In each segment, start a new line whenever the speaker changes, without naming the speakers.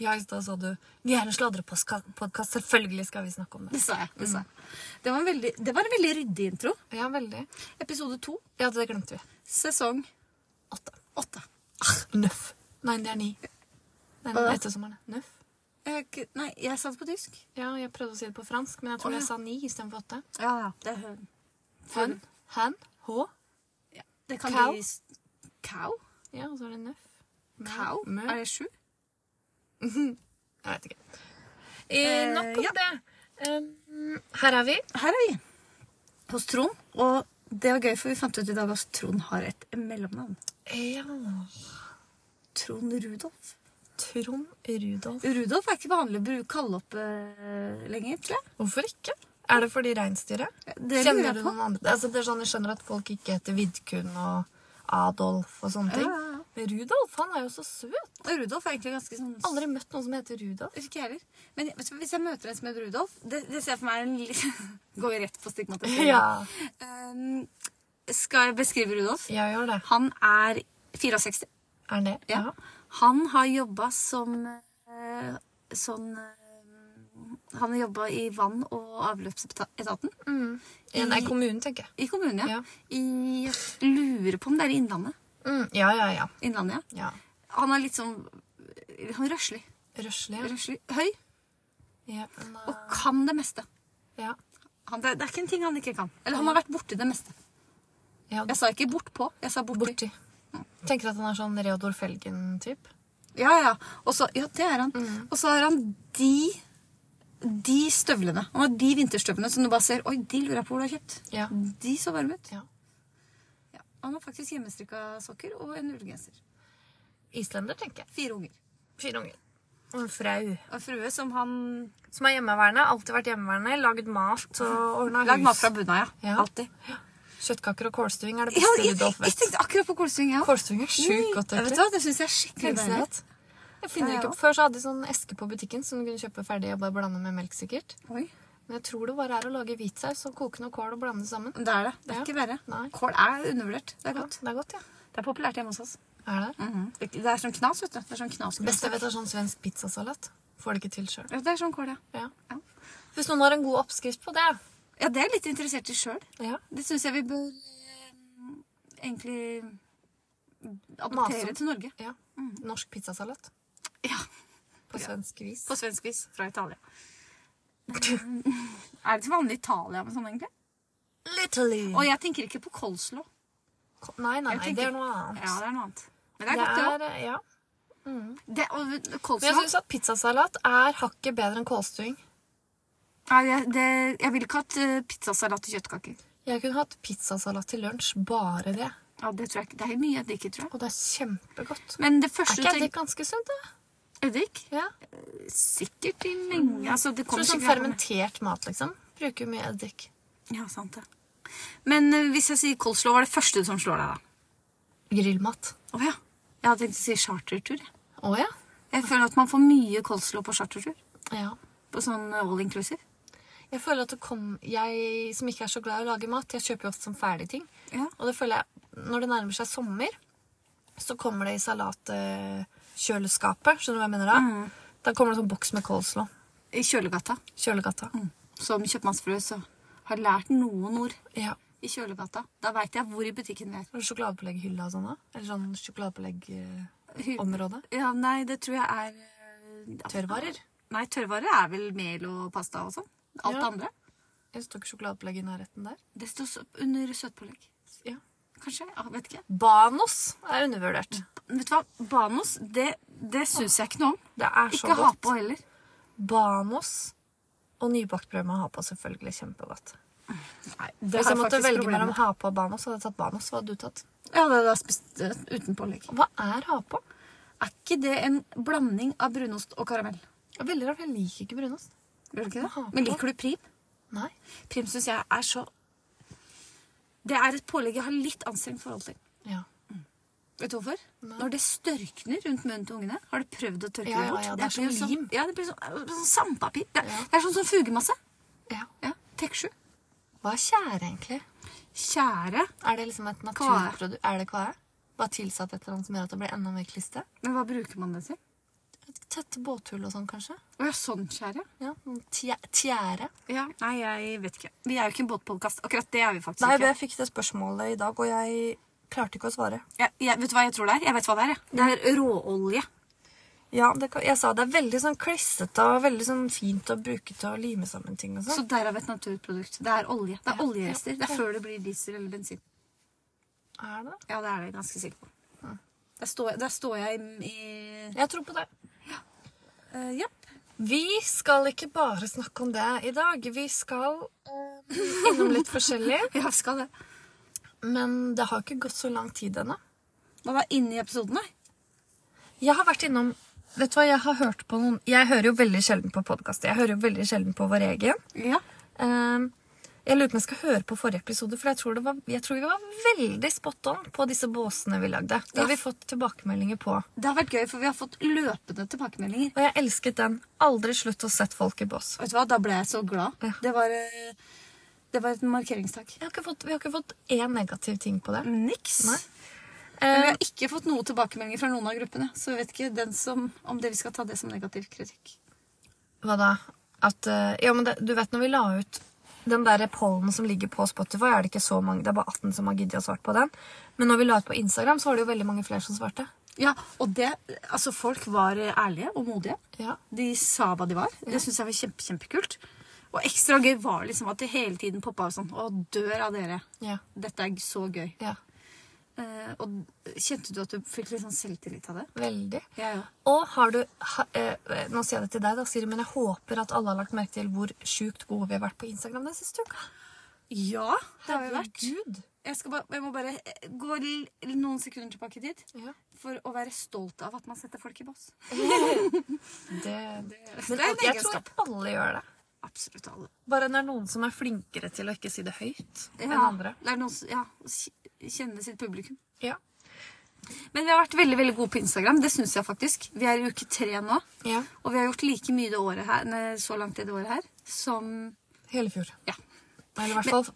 Ja, i stad sa du Vi er en sladrepodkast, selvfølgelig skal vi snakke om det.
Det sa jeg. Det, sa jeg. Mm. det, var, en veldig, det var en veldig ryddig intro.
Ja, veldig.
Episode to,
Ja, det glemte vi.
sesong
Åtte. Ah,
åtte.
Nøff. Nei, det er ni. Det er
Hva da?
etter sommeren. Nøff.
Jeg har ikke- Nei, jeg sa det på tysk.
Ja, jeg prøvde å si det på fransk, men jeg tror
Å, ja.
jeg sa ni istedenfor åtte.
Ja, ja. Det er hun.
Han, han, hå.
Ja. Det kan
Cow?
bli s- Cow?
Ja, og så er det nøff. Mø.
Cow?
Mø.
Er det sju?
Jeg vet ikke. Eh,
Eh,
nok om
ja.
det. Um, her er vi.
Her er vi. Hos Trond. Og det var gøy, for vi fant ut i dag at Trond har et mellomnavn.
Ja.
Trond Rudolf.
Trond Rudolf.
Rudolf er ikke vanlig å bru- kalle opp eh, lenger, tror jeg.
Hvorfor ikke? Er det fordi reinsdyret?
Det lurer
Kjenner
jeg
du
på.
noen andre? Altså, det er sånn, jeg skjønner at folk ikke heter Vidkun og Adolf og sånne ting.
Ja, ja, ja.
Men Rudolf, han er jo så søt.
Og Rudolf er egentlig ganske sånn
Aldri møtt noen som heter Rudolf.
Ikke jeg heller. Men jeg- hvis jeg møter en som heter Rudolf Det, det ser jeg for meg er en li- Går rett på stigmatisering.
Ja,
Ehm, skal jeg beskrive Rudolf?
jeg gjør det.
Han er 64.
Er han det?
Ja. Han har jobba som eh, sånn eh, Han har jobba i vann- og avløpsetaten
Mm. Ja, nei, kommunen, tenker jeg.
i kommunen. Ja.
Ja.
I, jeg lurer på om det er i Innlandet.
Mm. Ja, ja, ja.
Innlandet, ja.
ja.
Han er litt sånn Han er røslig.
Røslig. ja.
røslig. Høy
Ja. nei.
og kan det meste.
ja.
Han, det, det er ikke en ting han ikke kan. Eller han har vært borti det meste.
ja.
Jeg sa ikke bortpå, jeg sa borti.
Borti. Tenker at han er sånn Reodor Felgen-type.
Ja, ja. Og så, ja, det er han.
Mm.
Og så har han de de støvlene. Han har de vinterstøvlene som du bare ser Oi, de lurer jeg på hvor du har kjøpt.
Ja.
De så varme ut.
Ja.
Ja. Han har faktisk hjemmestrikka sokker og en ullgenser.
Islender, tenker jeg.
Fire unger.
Fire unger. Og en frau.
Og en frue som han
Som er hjemmeværende. Alltid vært hjemmeværende. Lagd mat og ordna hus.
Lagd mat fra bunnen av, ja.
Ja.
Alltid.
Kjøttkaker og kålstuing er det
Ja,
beste
jeg, jeg,
Rudolf vet.
tenkte akkurat på kålstuing, jeg òg.
Kålstuing er sjukt godt.
Vet du
egentlig.
hva, det syns jeg er skikkelig deilig.
Kålstuing. Jeg finner
Ja, jeg
ikke
også.
opp. Før så hadde de sånn eske på butikken som du kunne kjøpe ferdig og bare blande med melk. sikkert.
Oi,
Men jeg tror det bare er å lage hvitsaus og koke noe kål og blande det sammen.
Det er det. Det er
Ja.
ikke verre.
Nei.
Kål er undervurdert. Det er
Ja,
godt.
det er godt, ja.
Det er populært hjemme hos oss.
Er det?
Det det er sånn knas, vet du. Det er sånn knas.
Best jeg vet, er sånn svensk pizzasalat. Får det ikke til sjøl.
Ja, Det er sånn kål, ja.
Ja.
Ja.
Hvis noen har en god oppskrift på det
Ja, det er jeg litt interessert i sjøl.
ja.
Det syns jeg vi bør eh, egentlig
Mase
adoptere
om.
til Norge.
ja. Norsk pizzasalat
Ja,
på svensk vis.
På svensk vis. Fra Italia. er det til vanlig i Italia med sånn, egentlig?
Literally.
Og jeg tenker ikke på coleslaw.
Nei, nei,
Jeg
nei, det
tenker-
er noe annet.
Ja, det er noe annet. Men det er godt, det òg.
er, ja.
Det- og
Men jeg
Coleslaw
syns at pizzasalat er hakket bedre enn kålstuing.
Nei, jeg- det- Jeg ville ikke hatt eh, pizzasalat og kjøttkaker.
Jeg kunne hatt pizzasalat til lunsj, bare det.
Ja, det, tror jeg ikke. det er mye eddik i, tror jeg.
Og det er kjempegodt.
Men det
Er
første
ikke
du
det
tenker
ganske sunt, da?
Eddik?
Ja.
Sikkert i mengde. Altså, det
Tror
kommer
du sånn
sikkert an på-
fermentert mat, liksom? Bruker jo mye eddik.
Ja, sant det. Men eh, hvis jeg sier coleslaw, hva er det første som slår deg, da?
Grillmat.
Å ja. Jeg hadde tenkt å si chartertur. jeg.
Å ja.
Jeg føler at man får mye coleslaw på chartertur.
ja.
På sånn all inclusive.
Jeg føler at det kom Jeg som ikke er så glad i å lage mat, jeg kjøper jo ofte sånn ferdige ting.
Ja.
Og det føler jeg Når det nærmer seg sommer, så kommer det i salatkjøleskapet. Skjønner du hva jeg mener da?
Mm.
Da kommer det sånn boks med coleslaw.
I kjølegata. Mm.
Kjølegata.
Som kjøpmannsfrue så har jeg lært noen ord
Ja.
i kjølegata. Da veit jeg hvor i butikken vi er.
Har du Sjokoladepålegghylla og sånn, da? Eller sånn eh, sjokoladepåleggområde?
Hy- Ja, nei, det tror jeg er eh,
Tørrvarer?
Nei, tørrvarer er vel mel og pasta og sånn. Alt det
Ja.
andre.
Jeg står ikke sjokoladebelegg i nærheten der.
Det står så- under søtpålegg.
Ja.
Kanskje? Ja, vet ikke.
Banos er undervurdert.
Vet du hva? Banos, det, det syns jeg ikke noe om.
Det er så
Ikke ha
godt.
på heller.
Banos og nybakt brød med ha på selvfølgelig kjempegodt.
Nei,
Hvis jeg måtte velge mellom ha på og banos, hadde jeg tatt banos. Hva hadde du tatt?
Ja, det hadde jeg spist eh, uten pålegg.
Hva er ha på?
Er ikke det en blanding av brunost og karamell?
Det er Veldig rart, for jeg liker ikke brunost.
Gjør du ikke det?
Aha.
Men liker du prim?
Nei.
Prim syns jeg er så Det er et pålegg jeg har litt anstrengt forhold til.
Ja.
Vet du hvorfor?
Nei.
Når det størkner rundt munnen til ungene Har du prøvd å tørke
Ja,
det
ja,
bort?
ja, det er
blir
som
sånn-
lim.
Ja, det blir sånn, det blir sånn sandpapir. Det, er-
Ja.
det er sånn som fugemasse.
ja.
Ja, Tek7.
Hva er tjære, egentlig?
Kjære
Er det liksom et naturprodukt? Er det kvae? Bare tilsatt et eller annet som gjør at det blir enda mer kliste?
Men hva bruker man det til?
Tette båthull og sånn, kanskje?
Å ja, sånn kjære?
Ja, noen tjæ- Tjære.
Ja, Nei, jeg vet ikke. Vi er jo ikke en båtpodkast. Akkurat det er vi faktisk
Nei,
ikke.
jeg fikk det spørsmålet i dag, og jeg klarte ikke å svare.
Jeg, jeg, vet du hva jeg tror det er? Jeg vet hva det er, jeg. Det er råolje.
Ja, det, kan- Jeg sa det er veldig sånn klissete og veldig sånn fint å bruke til å lime sammen ting og
Så
sånn.
derav et naturprodukt. Det er olje. Det er
Ja,
oljerester.
ja,
Det
ja.
er før det blir diesel eller bensin.
Er det?
Ja, det er det jeg ganske sikker på. Der står, der står jeg i
Jeg tror på det.
eh, Ja.
Vi skal ikke bare snakke om det i dag. Vi skal eh, innom litt forskjellig.
Ja, vi skal det.
Men det har ikke gått så lang tid ennå.
Hva var inne i episoden, da?
Jeg har vært innom
Vet du hva, jeg har hørt på noen
Jeg hører jo veldig sjelden på podkaster. Jeg hører jo veldig sjelden på vår egen.
Ja.
Ehm, jeg lurer på om jeg skal høre på forrige episode, for jeg tror, det var, jeg tror vi var veldig spot on på disse båsene vi lagde. Det har vi fått tilbakemeldinger på.
Det har vært gøy, for vi har fått løpende tilbakemeldinger.
Og jeg elsket den. Aldri slutt å sette folk i bås.
Vet du hva, Da ble jeg så glad.
Ja.
Det, var, eh, det var et markeringstak.
Jeg har ikke fått, vi har ikke fått én negativ ting på det.
Niks.
Nei.
Men vi
Ehm,
har ikke fått noen tilbakemeldinger fra noen av gruppene. Så vi vet ikke den som, om det vi skal ta det som negativ kritikk.
Hva da? At, eh, ja, men det, du vet når vi la ut den der pollen som ligger på Spotify, er det ikke så mange, det er bare 18 som har giddet å svare på den. Men når vi la ut på Instagram, så var det jo veldig mange flere som svarte.
Ja, og det, altså Folk var eh, ærlige og modige.
Ja.
De sa hva de var. Det syns jeg var kjempe, kjempekult. Og ekstra gøy var liksom at det hele tiden poppa av sånn Å, dør av dere.
Ja.
Dette er så gøy.
ja.
Eh, og kjente du at du fikk litt sånn selvtillit av det?
Veldig.
Jeg òg.
Og har du ha, eh, Nå sier jeg det til deg, da, Siri, men jeg håper at alle har lagt merke til hvor sjukt gode vi har vært på Instagram den siste uka.
Ja, det har vi vært.
Herregud.
Jeg, skal bare, jeg må bare eh, gå l- noen sekunder tilbake i tid
Ja.
for å være stolt av at man setter folk i bås.
Det,
Men det er en
jeg tror
egenskap.
alle gjør det.
Absolutt alle.
Bare det er noen som er flinkere til å ikke si det høyt enn
Ja,
andre.
det er noen som ja, kj- kjenner sitt publikum.
Ja.
Men vi har vært veldig veldig gode på Instagram. Det syns jeg faktisk. Vi er i uke tre nå.
ja.
Og vi har gjort like mye det året her, nei, så langt i det året her som
Hele fjor.
Ja,
Eller i hvert fall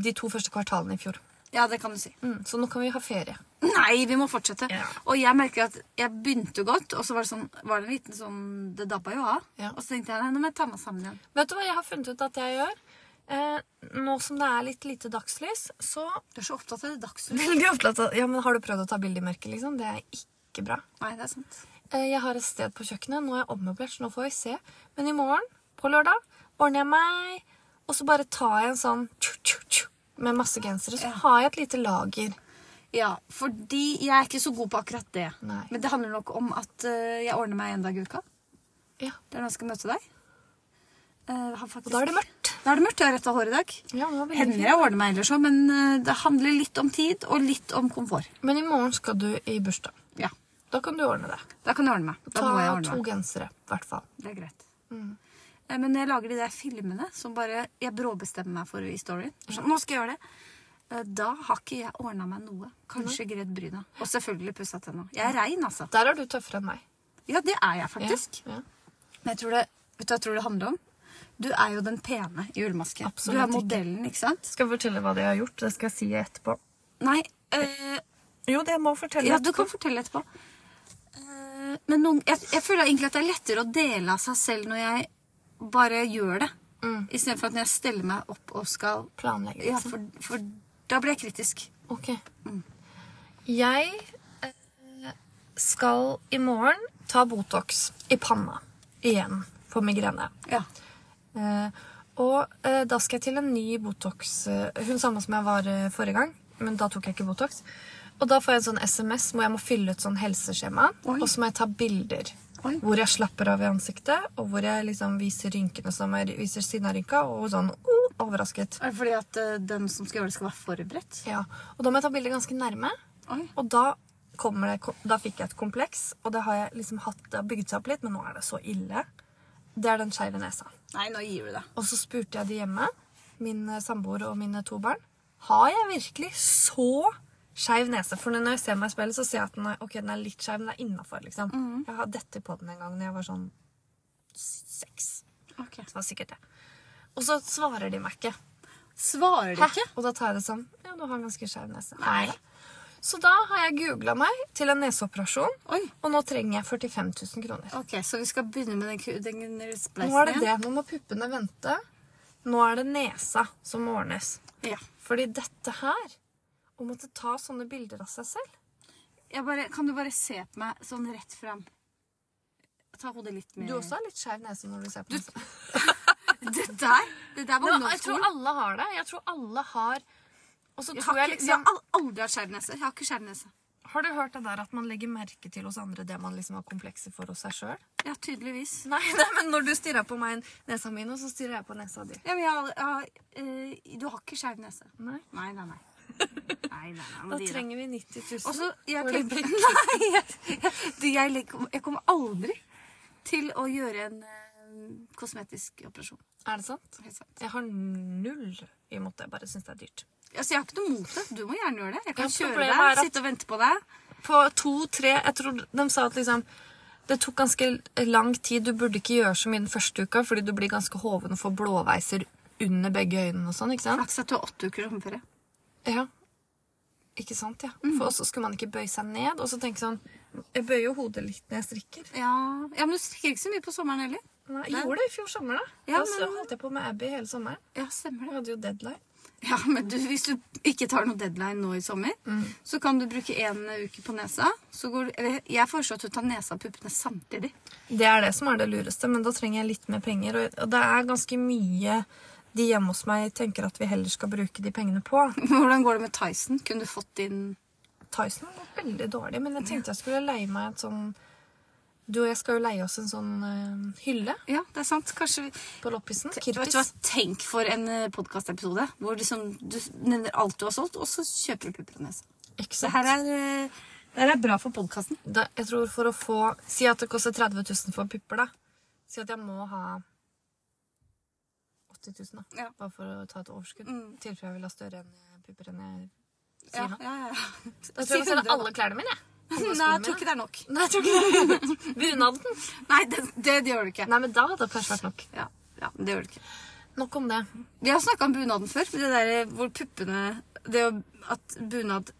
de to første kvartalene i fjor.
ja det kan du si.
Mm, så nå kan vi ha ferie.
Nei, vi må fortsette.
Ja.
Og jeg merker at jeg begynte godt, og så var det sånn, var det en liten sånn Det dabba jo av.
Ja.
Og så tenkte jeg nei, nå må jeg ta meg sammen igjen.
Vet du hva jeg har funnet ut at jeg gjør? Eh, nå som det er litt lite dagslys, så
Du er så opptatt av det dagsnytt.
Veldig opptatt av Ja, men har du prøvd å ta bilde i mørket, liksom? Det er ikke bra.
Nei, det er sant.
Eh, jeg har et sted på kjøkkenet. Nå er jeg ommøblert, så nå får vi se. Men i morgen, på lørdag, ordner jeg meg, og så bare tar jeg en sånn tju, tju, tju, med masse gensere. Så har jeg et lite lager.
Ja, fordi jeg er ikke så god på akkurat det.
Nei.
Men det handler nok om at eh, jeg ordner meg en dag i uka.
Ja.
Det er når jeg skal møte deg. Eh, har faktisk...
Og da er det mørkt.
Da er det mørkt. Jeg har retta hår i dag.
Ja, det var veldig
Hender jeg ordner meg ellers òg, men eh, det handler litt om tid og litt om komfort.
fint. Men i morgen skal du i bursdag.
Ja,
Da kan du ordne det.
Da kan jeg ordne meg. Da
Ta
må jeg ordne
to Mm.
meg.
gensere, i hvert fall.
Det er greit. Eh, Men når jeg lager de der filmene som bare jeg bråbestemmer meg for i storyen sånn, Nå skal jeg gjøre det! Eh, Da har ikke jeg ordna meg noe. Kanskje gredd bryna. Og selvfølgelig pussa tenna. Jeg er rein, altså.
Der er du tøffere enn meg.
Ja, det er jeg faktisk.
Ja, ja.
Men jeg tror det, vet du hva jeg tror det handler om? Du er jo den pene i ullmaske.
Absolutt
du
ikke.
er modellen, ikke sant?
Skal jeg fortelle hva de har gjort? Det skal jeg si etterpå.
Nei, eh,
Jo, det må jeg fortelle
ja, du kan fortelle etterpå. Eh, men noen, jeg, jeg føler egentlig at det er lettere å dele av seg selv når jeg bare gjør det.
Mm.
Istedenfor at når jeg steller meg opp og skal
Planlegge,
Ja,
liksom.
for, for da blir jeg kritisk.
Ok. Jeg eh, skal i morgen ta Botox i panna igjen for migrene.
Ja.
Eh, og eh, da skal jeg til en ny Botox. eh, Hun samme som jeg var eh, forrige gang, men da tok jeg ikke Botox. Og da får jeg en sånn SMS hvor jeg må fylle ut sånn helseskjema,
Oi.
og så må jeg ta bilder.
Oi.
Hvor jeg slapper av i ansiktet, og hvor jeg liksom viser rynkene som jeg viser siden av rynka, og sånn oh, overrasket.
Er det fordi at eh, den som skal gjøre det, skal være forberedt?
Ja. Og da må jeg ta bilder ganske nærme.
Oi.
Og da kommer det, kom- da fikk jeg et kompleks, og det har jeg liksom hatt, det har bygd seg opp litt, men nå er det så ille. Det er den skeive nesa.
Nei, nå gir du deg.
Og så spurte jeg de hjemme, min eh, samboer og mine to barn, har jeg virkelig så skeiv nese? For når jeg ser meg i speilet, så ser jeg at den er, ok, den er litt skeiv, men det er innafor. Liksom. Jeg har dette på den en gang da jeg var sånn seks. Så det var sikkert det. Og så svarer de meg ikke.
Svarer de
Hæ?
ikke?
Og da tar jeg det som ja, du har en ganske skeiv nese. Har jeg det? Så da har jeg googla meg til en neseoperasjon,
Oi.
og nå trenger jeg 45 000 kroner.
Ok, Så vi skal begynne med den, ku- den spleisen
Nå er det det. Nå må puppene vente. Nå er det nesa som må ordnes.
det. Ja.
Fordi dette her Å måtte ta sånne bilder av seg selv
Jeg bare, kan du bare se på meg sånn rett fram? Ta hodet litt mer
Du også har litt skeiv nese når du ser på meg.
Det der! Det der var
Jeg tror
ungdomsskolen.
alle har det. Jeg tror alle har Og så
Jeg
tror
har, ikke,
jeg
jeg
liksom
har al- aldri hatt skjær nese. Jeg har ikke skjær nese.
Har du hørt det der at man legger merke til hos andre det man liksom har komplekser for hos seg sjøl?
Ja, tydeligvis.
Nei, nei, men når du stirra på meg nesa mi nå, så stirrer jeg på nesa di.
Ja, men jeg, har- jeg, har, eh, du har ikke skjær nese.
Nei.
Nei, nei, nei. nei, nei, nei
Da
men de da.
trenger vi 90 000.
Og så, jeg
Hvor det
tenker Nei! Jeg, jeg, jeg, legger- jeg kommer aldri til å gjøre en eh, kosmetisk operasjon.
Er det sant?
Helt sant.
Jeg har null imot det. Jeg bare syns det er dyrt.
Altså, jeg har ikke noe mot det. Du må gjerne gjøre det. Jeg kan
Ja,
kjøre
problemet
deg,
er at-
sitte og vente på deg.
på to-tre Jeg tror de sa at liksom det tok ganske lang tid. Du burde ikke gjøre så mye den første uka, fordi du blir ganske hoven og får blåveiser under begge øynene og sånn, ikke sant?
Flaks at du har åtte uker sommerferie.
Ja. Ikke sant, ja. For så skulle man ikke bøye seg ned, og så tenke sånn Jeg bøyer jo hodet litt når jeg strikker.
Ja. ja, men du strikker ikke så mye på sommeren heller.
Nei, jeg gjorde det i fjor sommer, da.
Ja,
og så
men-
holdt jeg på med Abby hele sommeren.
Ja, stemmer
Jeg hadde jo deadline.
Ja, men du, Hvis du ikke tar noe deadline nå i sommer, så kan du bruke én uke på nesa. Så går du, eller, jeg foreslår at du tar nesa og puppene samtidig.
Det er det som er det lureste, men da trenger jeg litt mer penger. Og og det er ganske mye de hjemme hos meg tenker at vi heller skal bruke de pengene på.
Hvordan går det med Tyson? Kunne du fått din
Tyson var veldig dårlig, men jeg tenkte jeg skulle leie meg et sånn Du og jeg skal jo leie oss en sånn eh, hylle
Ja, det er sant. Kanskje vi
på loppisen.
Vet du hva,
Kirpis.
Tenk for en podkastepisode hvor liksom, du nevner alt du har solgt, og så kjøper du pupper og nese.
Ikke
Det
sant?
her er, eh, det her er bra for podkasten.
Da, jeg tror for å få Si at det koster 30 000 for pupper, da. Si at jeg må ha 80 000, da.
Ja.
Bare for å ta et overskudd. I
Mm.
tilfelle jeg vil ha større enn jeg- pupper enn jeg sier
Ja,
nå.
ja, ja.
Da tror jeg jeg
Si
skal
100,
selge alle klærne mine, jeg.
Nei, jeg tror ikke det er nok.
Nei, jeg tror ikke det. Bunaden.
Nei, det, det, det gjør du ikke.
Nei, men da hadde det kanskje vært nok.
Ja, ja, det gjør du ikke.
Nok om det.
Vi har snakka om bunaden før. Det der eh, hvor puppene Det å- at bunad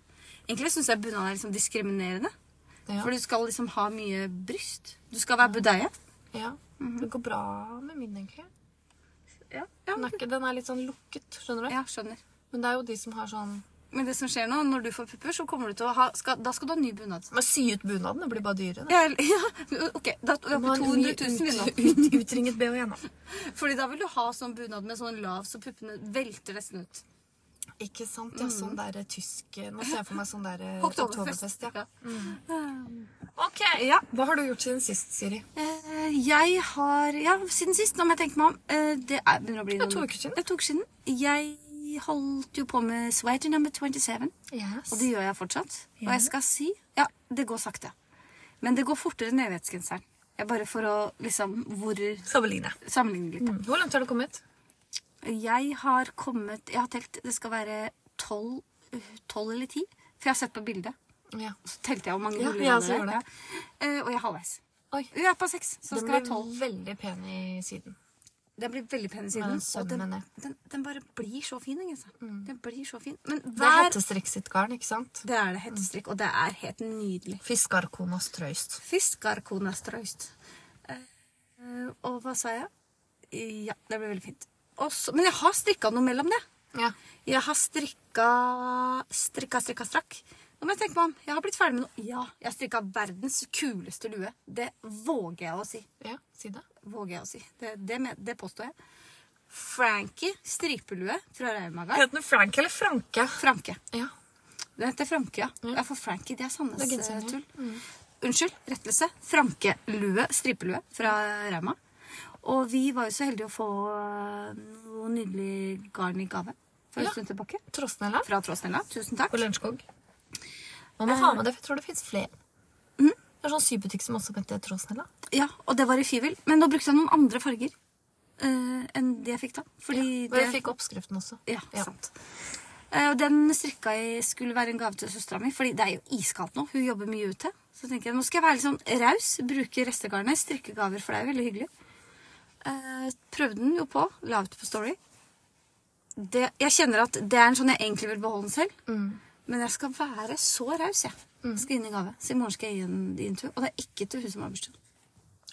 Egentlig syns jeg bunad er liksom diskriminerende.
Ja.
For du skal liksom ha mye bryst. Du skal være budeie.
ja. Det går bra med min, egentlig.
Ja,
Den er, ikke, den er litt sånn lukket, skjønner du?
ja, skjønner.
Men det er jo de som har sånn
Men det som skjer nå, når du får pupper, så kommer du til å ha skal, Da skal du ha ny bunad.
Men sy ut bunaden, det blir bare dyrere.
Ja, eller- ja, ok, da er vi oppe i 200 000 vi nå.
Utringet E BH igjen, da.
Fordi da vil du ha sånn bunad med sånn lav, så puppene velter nesten ut.
Ikke sant? Ja, sånn der tysk Nå ser jeg for meg sånn der eh,
Oktoberfest.
oktoberfest, ja.
Ja.
Ok,
Ja.
Hva har du gjort siden sist, Siri?
Eh, Jeg har Ja, siden sist, nå må jeg tenke meg om. eh, Det er, begynner å bli
Ja, to uker siden.
Det er to uker siden. Jeg holdt jo på med Sweater number 27.
Yes.
Og det gjør jeg fortsatt. Og jeg skal si Ja, det går sakte. Men det går fortere enn evighetsgenseren. Jeg bare for å liksom hvor
Sabeline.
Sammenligne litt.
Mm. Hvor langt har du kommet?
Jeg har kommet Jeg har telt Det skal være tolv tolv eller ti. For jeg har sett på bildet.
Ja.
Så telte jeg hvor mange
Ja,
huller
jeg
det
også
er.
gjorde det.
Ja. Eh, Og jeg er halvveis.
Oi.
Jeg er på seks, så det
Den
skal være
blir
tolv.
veldig pen i siden.
Den blir veldig pen i
Med
siden.
den
Og den,
sømmen ned.
den, den bare blir så fin. Ikke? sant? Den blir så fin. Men
Mm. Det er sånn. Mm.
hver
hettestrikk sitt garn, ikke sant?
Det er det hettestrikk, og det er helt nydelig.
Fiskarkonas trøyst.
Fiskarkonas trøyst. Eh, eh, Og hva sa jeg? Ja, det ble veldig fint. Og så- men jeg har strikka noe mellom det.
Ja.
Jeg har strikka strikka, strikka, strakk. Nå må jeg tenke meg om. Jeg har blitt ferdig med noe. Ja, jeg har strikka verdens kuleste lue. Det våger jeg å si.
ja. Si det.
Våger jeg å si. Det, det, men- det påstår jeg. Frankie stripelue fra Raumaga.
Heter den Frank eller Franke?
Franke.
Ja. Mm.
Det heter Franke, ja. ja. For Frankie, det er
Det er genseren, ja. Mm.
Sandnes-tull. Unnskyld, rettelse. Franke-lue, stripelue fra Rauma. Og vi var jo så heldige å få øh, noe nydelig garn i gave for en
Ja.
stund tilbake.
Trostnella?
Fra Tråsnella. Tusen takk.
På Lørenskog. Man må ha med det, for jeg tror det fins flere.
Mhm.
Det er sånn sybutikk som også heter Tråsnella.
Ja, og det var i fivel. Men nå brukte jeg noen andre farger eh, enn de jeg fikk da. Fordi
Og jeg fikk oppskriften også.
Ja, sant. Eh, og den strikka jeg skulle være en gave til søstera mi, fordi det er jo iskaldt nå. Hun jobber mye ute. Så tenker jeg nå skal jeg være litt sånn raus, bruke restegarnet, strikke gaver, for det er jo veldig hyggelig. Eh, prøvde den jo på. La ut på Story. Det, jeg kjenner at det er en sånn jeg egentlig vil beholde den selv. Men jeg skal være så raus, jeg. Skal inn i gave. Så i morgen skal jeg gi den din tur. Og det er ikke til hun som har bursdag.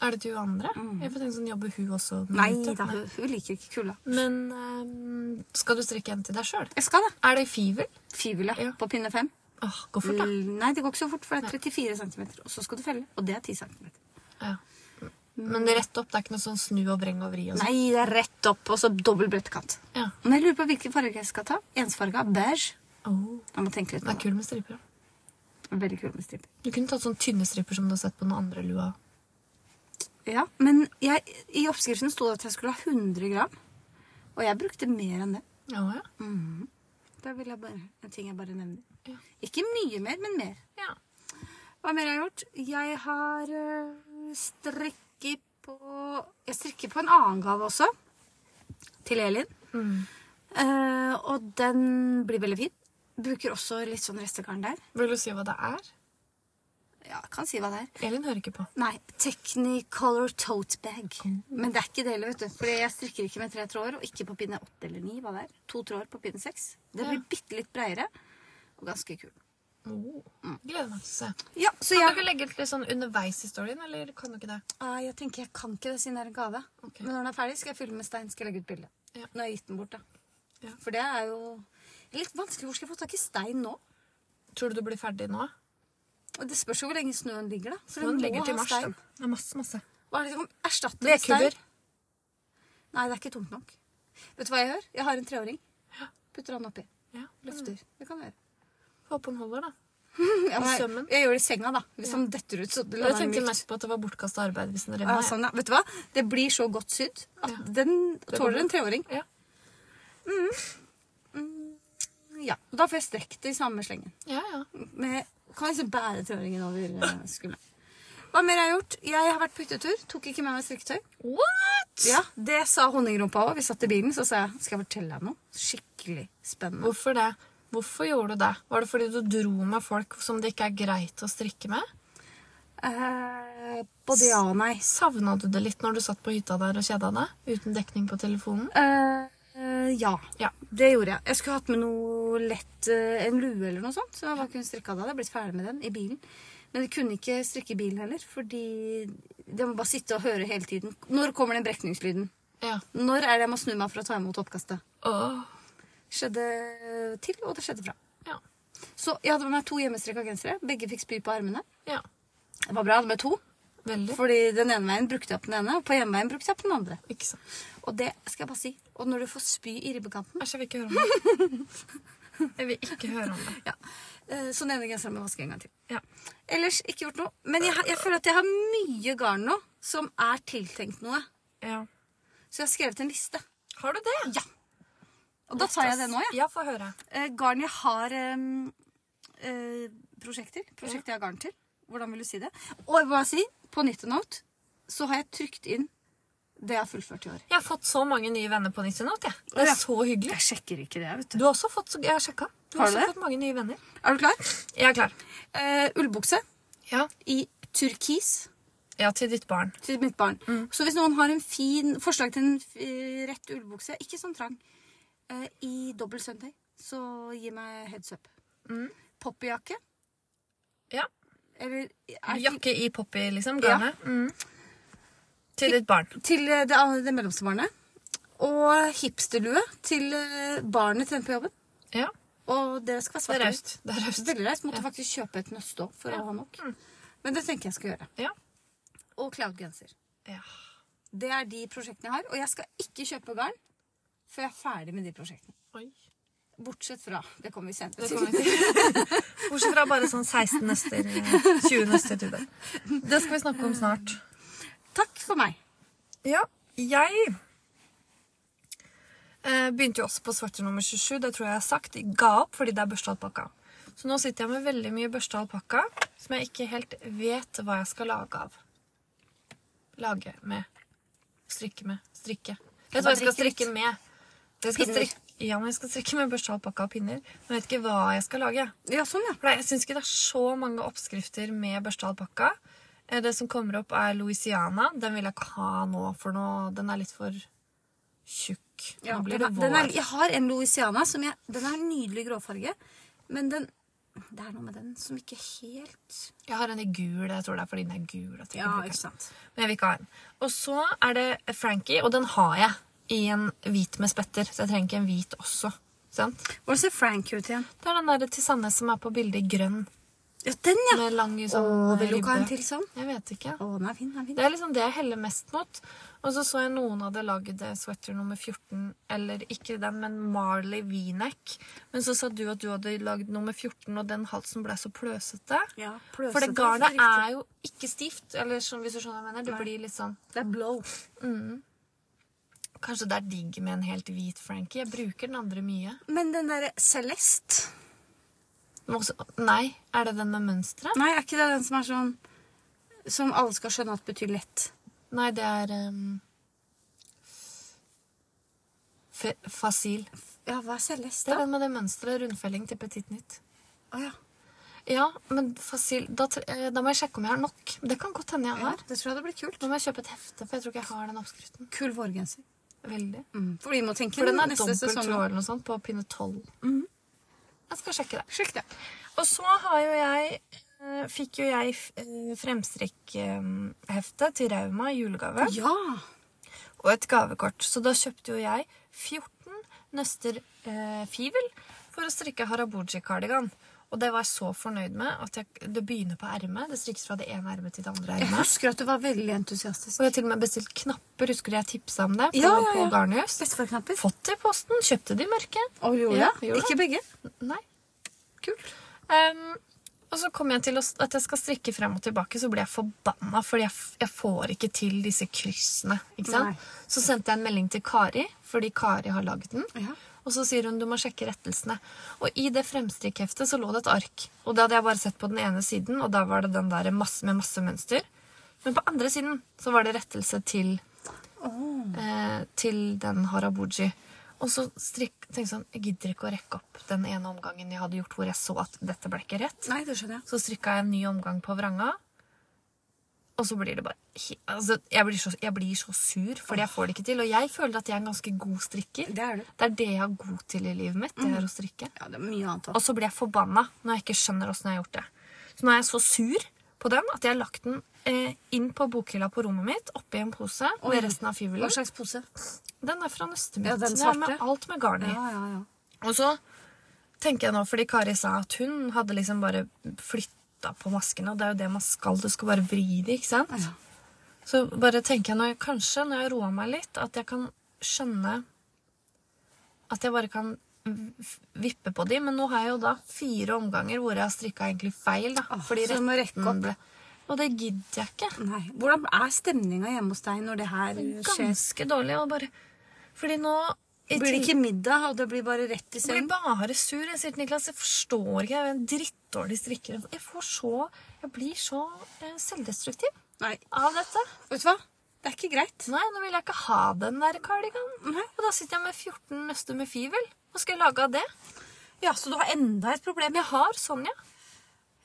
Er det til hun andre? Jeg får tenke sånn, Jobber hun også? med
Mm. Nei
dette?
da, hun, hun liker ikke kulda.
Men ehm, skal du strikke en til deg sjøl?
Jeg skal det.
Er det i fivel?
Fivel, ja.
Ja.
På pinne fem.
Åh, gå fort, da.
L- Mm, Nei, det går ikke så fort, for det er 34 cm, og så skal du felle. Og det er 10 cm.
Ja. Men det er rett opp, det er ikke noe sånn snu og vreng og vri og sånn?
Nei, det er rett opp, og så dobbel brettekant.
Ja.
Men jeg lurer på hvilken farge jeg skal ta. Ensfarga beige.
Åh,
Jeg må tenke litt på
Det er kul med striper. da.
det. Veldig kul med striper.
Du kunne tatt sånne tynne striper som du har sett på den andre lua.
Ja, men jeg, i oppskriften sto det at jeg skulle ha 100 gram, og jeg brukte mer enn det.
Ja, ja.
Det vil jeg bare, en ting jeg bare nevner.
Ja.
Ikke mye mer, men mer.
ja.
Hva mer har jeg gjort? Jeg har øh, strikket på Jeg strikker på en annen gave også. Til Elin. Mm. Eh, og den blir veldig fin. Bruker også litt sånn restegarn der.
Vil du si hva det er?
Ja, kan si hva det er.
Elin hører ikke på.
Nei, Technicolor tote bag. Men det er ikke det heller, vet du. Fordi jeg strikker ikke med tre tråder, og ikke på pinne åtte eller ni. Hva det er. To tråder på pinne seks. Det blir bitte litt breiere. Og ganske kul.
Oh.
Mm.
Gleder meg til å se.
Ja, så
Kan
jeg
du ikke legge ut litt sånn underveis i storyen, eller kan du ikke det?
Ah, jeg tenker jeg kan ikke det siden det er en gave.
Ok.
Men når den er ferdig, skal jeg fylle med stein. Skal jeg legge ut bilde.
Ja.
Når jeg har gitt den bort, da.
Ja.
For det er jo litt vanskelig. Hvor skal jeg få tak i stein nå?
Tror du du blir ferdig nå?
Og Det spørs jo hvor lenge snøen ligger, da. For
Den
den må
ligger til
ha
mars, den.
stein.
Det er masse, masse.
Hva er det som erstatter
Vedkubber.
stein? Nei, det er ikke tungt nok. Vet du hva jeg gjør? Jeg har en treåring. Putter han oppi.
Ja,
Løfter.
Mm.
Det kan jeg gjøre.
Håper den holder, da.
Ja, men jeg,
sømmen?
jeg gjør det i senga, da. Hvis han detter ut, så
Jeg
lander han
tenkte
mykt.
mest på at det var bortkasta arbeid hvis den
Ja,
revna.
sånn, ja. Vet du hva? Det blir så godt sydd at
Ja.
den tåler en treåring.
Ja.
Ja, og Da får jeg strekt det i samme slengen.
Ja, ja.
med, kan liksom bære treåringen over eh, skulderen. Hva mer har jeg gjort? Jeg har vært på hyttetur. Tok ikke med meg strikketøy.
What?!
Ja, Det sa honningrumpa òg. Vi satt i bilen, så sa jeg skal jeg fortelle deg noe. Skikkelig spennende.
Hvorfor det? Hvorfor gjorde du det? Var det fordi du dro med folk som det ikke er greit å strikke med?
Eh, både ja og nei.
Savna du det litt når du satt på hytta der og kjeda deg? Uten dekning på telefonen?
Eh, eh, ja.
Ja.
Det gjorde jeg. Jeg skulle hatt med noe lett, eh, en lue eller noe sånt. Så jeg bare kunne strikka det. Jeg hadde blitt ferdig med den i bilen. Men jeg kunne ikke strikke i bilen heller, fordi jeg må bare sitte og høre hele tiden. Når kommer den brekningslyden?
Ja.
Når er det jeg må snu meg for å ta imot oppkastet?
Åh.
skjedde til, og det skjedde fra.
Ja.
Så jeg hadde med meg to hjemmestrikka gensere. Begge fikk spy på armene.
ja.
Det var bra, jeg hadde med to.
Veldig.
Fordi den ene veien brukte jeg opp den ene, og på hjemmeveien brukte jeg opp den andre.
Ikke sant.
Og det skal jeg bare si. Og når du får spy i ribbekanten
Æsj, jeg vil ikke høre om det. Jeg vil ikke høre om det.
ja. eh, Så den ene genseren må jeg vaske en gang til.
Ja.
Ellers ikke gjort noe. Men jeg, har- jeg føler at jeg har mye garn nå som er tiltenkt noe.
ja.
Så jeg har skrevet en liste.
Har du det?
Ja. Og da tar jeg det nå, jeg.
Ja, få høre.
Eh, Garn jeg har eh, eh, prosjekt til. Prosjekt jeg har garn til. Hvordan vil du si det? Og jeg vil bare si, på Nyttenote så har jeg trykt inn det jeg har fullført i år.
Jeg har fått så mange nye venner på Nissenot, jeg. Det
Å, ja.
er så hyggelig.
Jeg sjekker ikke det, vet
Du har også fått, så- jeg har sjekka. Du har,
Har du
også
det?
fått mange nye venner.
Er du klar?
Jeg er klar.
Eh, ullbukse
Ja.
i turkis
Ja, til ditt barn.
til mitt barn. Så hvis noen har en fin forslag til en eh, rett ullbukse, ikke sånn trang, eh, i dobbel søndag, så gi meg heads up. Mm. Poppyjakke.
Ja.
Eller er det-
Jakke i poppy, liksom.
Ja.
Garnet. Mm. Til ditt barn.
til eh, det, an- det mellomste barnet. Og hipsterlue til eh, barnet trener på jobben.
Ja.
Og det skal være
Det er
svart.
raust. Det er raust.
Veldig raust. Måtte faktisk kjøpe et nøste også for å ha nok. Men det tenker jeg skal gjøre.
Ja.
Og cloud-genser.
ja.
Det er de prosjektene jeg har. Og jeg skal ikke kjøpe garn før jeg er ferdig med de prosjektene.
Oi.
Bortsett fra Det kommer vi senere
Det
til.
kommer vi til. Bortsett fra bare sånn 16 nøster, eh, 20 nøster til det. Det skal vi snakke om snart.
Takk for meg.
Ja, jeg eh, begynte jo også på svarter nummer 27, det tror jeg jeg har sagt. Ga opp fordi det er børstealpakka. Så nå sitter jeg med veldig mye børsta alpakka som jeg ikke helt vet hva jeg skal lage av. Lage med. Strikke med. Strikke. Vet du hva jeg skal strikke med? Jeg skal
Pinner.
strikke, ja, men jeg skal strikke med børsta alpakka og pinner. Men jeg vet ikke hva jeg skal lage.
Ja, sånn, ja.
For det- jeg syns ikke det er så mange oppskrifter med børsta alpakka. Eh, Det som kommer opp, er Louisiana. Den vil jeg ikke ha nå, for nå, den er litt for tjukk.
Ja,
nå blir
den
det
er,
vår.
den er, jeg har en Louisiana som jeg, den er en nydelig gråfarge, men den det er noe med den som ikke helt
Jeg har en i gul. Jeg tror det er fordi den er gul. At jeg ikke bruker den.
sant.
Men jeg vil ikke ha en. Og så er det Frankie, og den har jeg i en hvit med spetter. Så jeg trenger ikke en hvit også. Sant?
Hvordan ser Frank ut igjen?
Det er den der til Sandnes som er på bildet i grønn.
Ja, den, ja!
Med lang
Å,
sånn
vil du ikke ha en
ribbe.
til sånn?
Jeg vet ikke.
Å, den er fin. den er fin.
Det er liksom det jeg heller mest mot. Og så så jeg noen hadde lagd eh, sweater nummer 14, eller ikke den, men Marley V-neck. Men så sa du at du hadde lagd nummer 14, og den halsen ble så pløsete.
Ja,
For det
pløsete,
garnet
helt riktig.
er jo ikke stivt, eller sånn, hvis du skjønner hva jeg mener. Det
Nei.
blir litt sånn
Det er blow.
Kanskje det er digg med en helt hvit Frankie. Jeg bruker den andre mye.
Men den derre Celeste
Men også, nei, er det den med mønsteret?
Nei, er ikke det den som er sånn Som alle skal skjønne at betyr lett?
Nei, det er um, fe, Fasil.
Ja, hva er
Det
Celeste?
er
da?
den med det mønsteret. Rundfelling til Petit Nytt.
Å ja.
Ja, men fasil, da, tre- eh, da må jeg sjekke om jeg har nok. Det kan godt hende jeg
ja.
har.
Det tror jeg hadde blitt kult.
Nå må jeg kjøpe et hefte, for jeg tror ikke jeg har den oppskriften.
Kul vårgenser.
Veldig.
Mm. For vi må tenke
For den er
neste
dobbelt
sesong.
tråd eller noe sånt på pinne 12. Jeg skal sjekke det.
Sjekk det.
Mhm. Og så har jo jeg eh, Fikk jo jeg f- eh, fremstrikkhefte til Rauma i julegave.
Ja!
Og et gavekort. Så da kjøpte jo jeg 14 nøster eh, fivel for å strikke harabuji-kardigan. Og det var jeg så fornøyd med at jeg, det begynner på ermet. Det strikkes fra det ene ermet til det andre
Jeg
ermet.
husker at du var veldig entusiastisk.
Og jeg har til og med bestilt knapper. Husker du jeg tipsa om det? På,
Ja, ja, ja.
på Garnhus.
Bestefarknapper.
Fått det i posten. Kjøpte det i mørket.
Og gjorde
Ja,
det?
gjorde det.
Ikke begge?
Nei.
Kult.
Ehm, og så kom jeg til å s- at jeg skal strikke frem og tilbake, så ble jeg forbanna, fordi jeg, f- jeg får ikke til disse kryssene. ikke sant?
Nei.
Så sendte jeg en melding til Kari, fordi Kari har lagd den.
Ja.
Og så sier hun du må sjekke rettelsene. Og i det fremstrikkheftet så lå det et ark. Og det hadde jeg bare sett på den ene siden, og da var det den der masse, med masse mønster. Men på andre siden så var det rettelse til eh, til den harabuji. Og så strikk, tenkte jeg sånn, jeg gidder ikke å rekke opp den ene omgangen jeg hadde gjort hvor jeg så at dette ble ikke rett.
Nei, det skjønner jeg.
Så strikka jeg en ny omgang på vranga. Og så blir det bare he- altså, jeg, blir så, jeg blir så sur, fordi jeg får det ikke til. Og jeg føler at jeg er en ganske god strikker.
Det er Mm. du.
Det er det jeg er god til i livet mitt. det er å strikke.
Ja, det er mye annet
Og så blir jeg forbanna når jeg ikke skjønner åssen jeg har gjort det. Så nå er jeg så sur på den at jeg har lagt den eh, inn på bokhylla på rommet mitt, oppi en pose
Oi.
med resten av
Hva
fivelen.
slags pose?
Den er fra nøstet mitt.
Ja, den
det er med
svarte.
alt med garn i.
Ja, ja, ja.
Og så tenker jeg nå, fordi Kari sa at hun hadde liksom bare flytta på maskene, og det er jo det man skal, du skal bare vri det, ikke sant?
Ja.
Så bare tenker jeg nå, kanskje når jeg roer meg litt, at jeg kan skjønne at jeg bare kan v- vippe på de, men nå har jeg jo da fire omganger hvor jeg har strikka egentlig feil, da.
Åh, så du må rekke
retten
opp.
ble- Og det gidder jeg ikke
Nei. Hvordan er stemninga hjemme hos deg når det her eh, skjer?
ganske dårlig. Og bare, fordi nå
Blir det
i til-
ikke middag, og det blir bare rett i
Jeg
seng?
blir bare sur. Jeg sier til Niklas, jeg forstår ikke. Jeg er en drittdårlig strikker. Jeg får så Jeg blir så eh, selvdestruktiv
Nei.
av dette.
Vet du hva? Det er ikke greit.
Nei, nå vil jeg ikke ha den der kardiganen.
Nei.
Og da sitter jeg med 14 nøster med fivel. Hva skal jeg lage av det?
Ja, så du har enda et problem?
Men jeg har Sonja.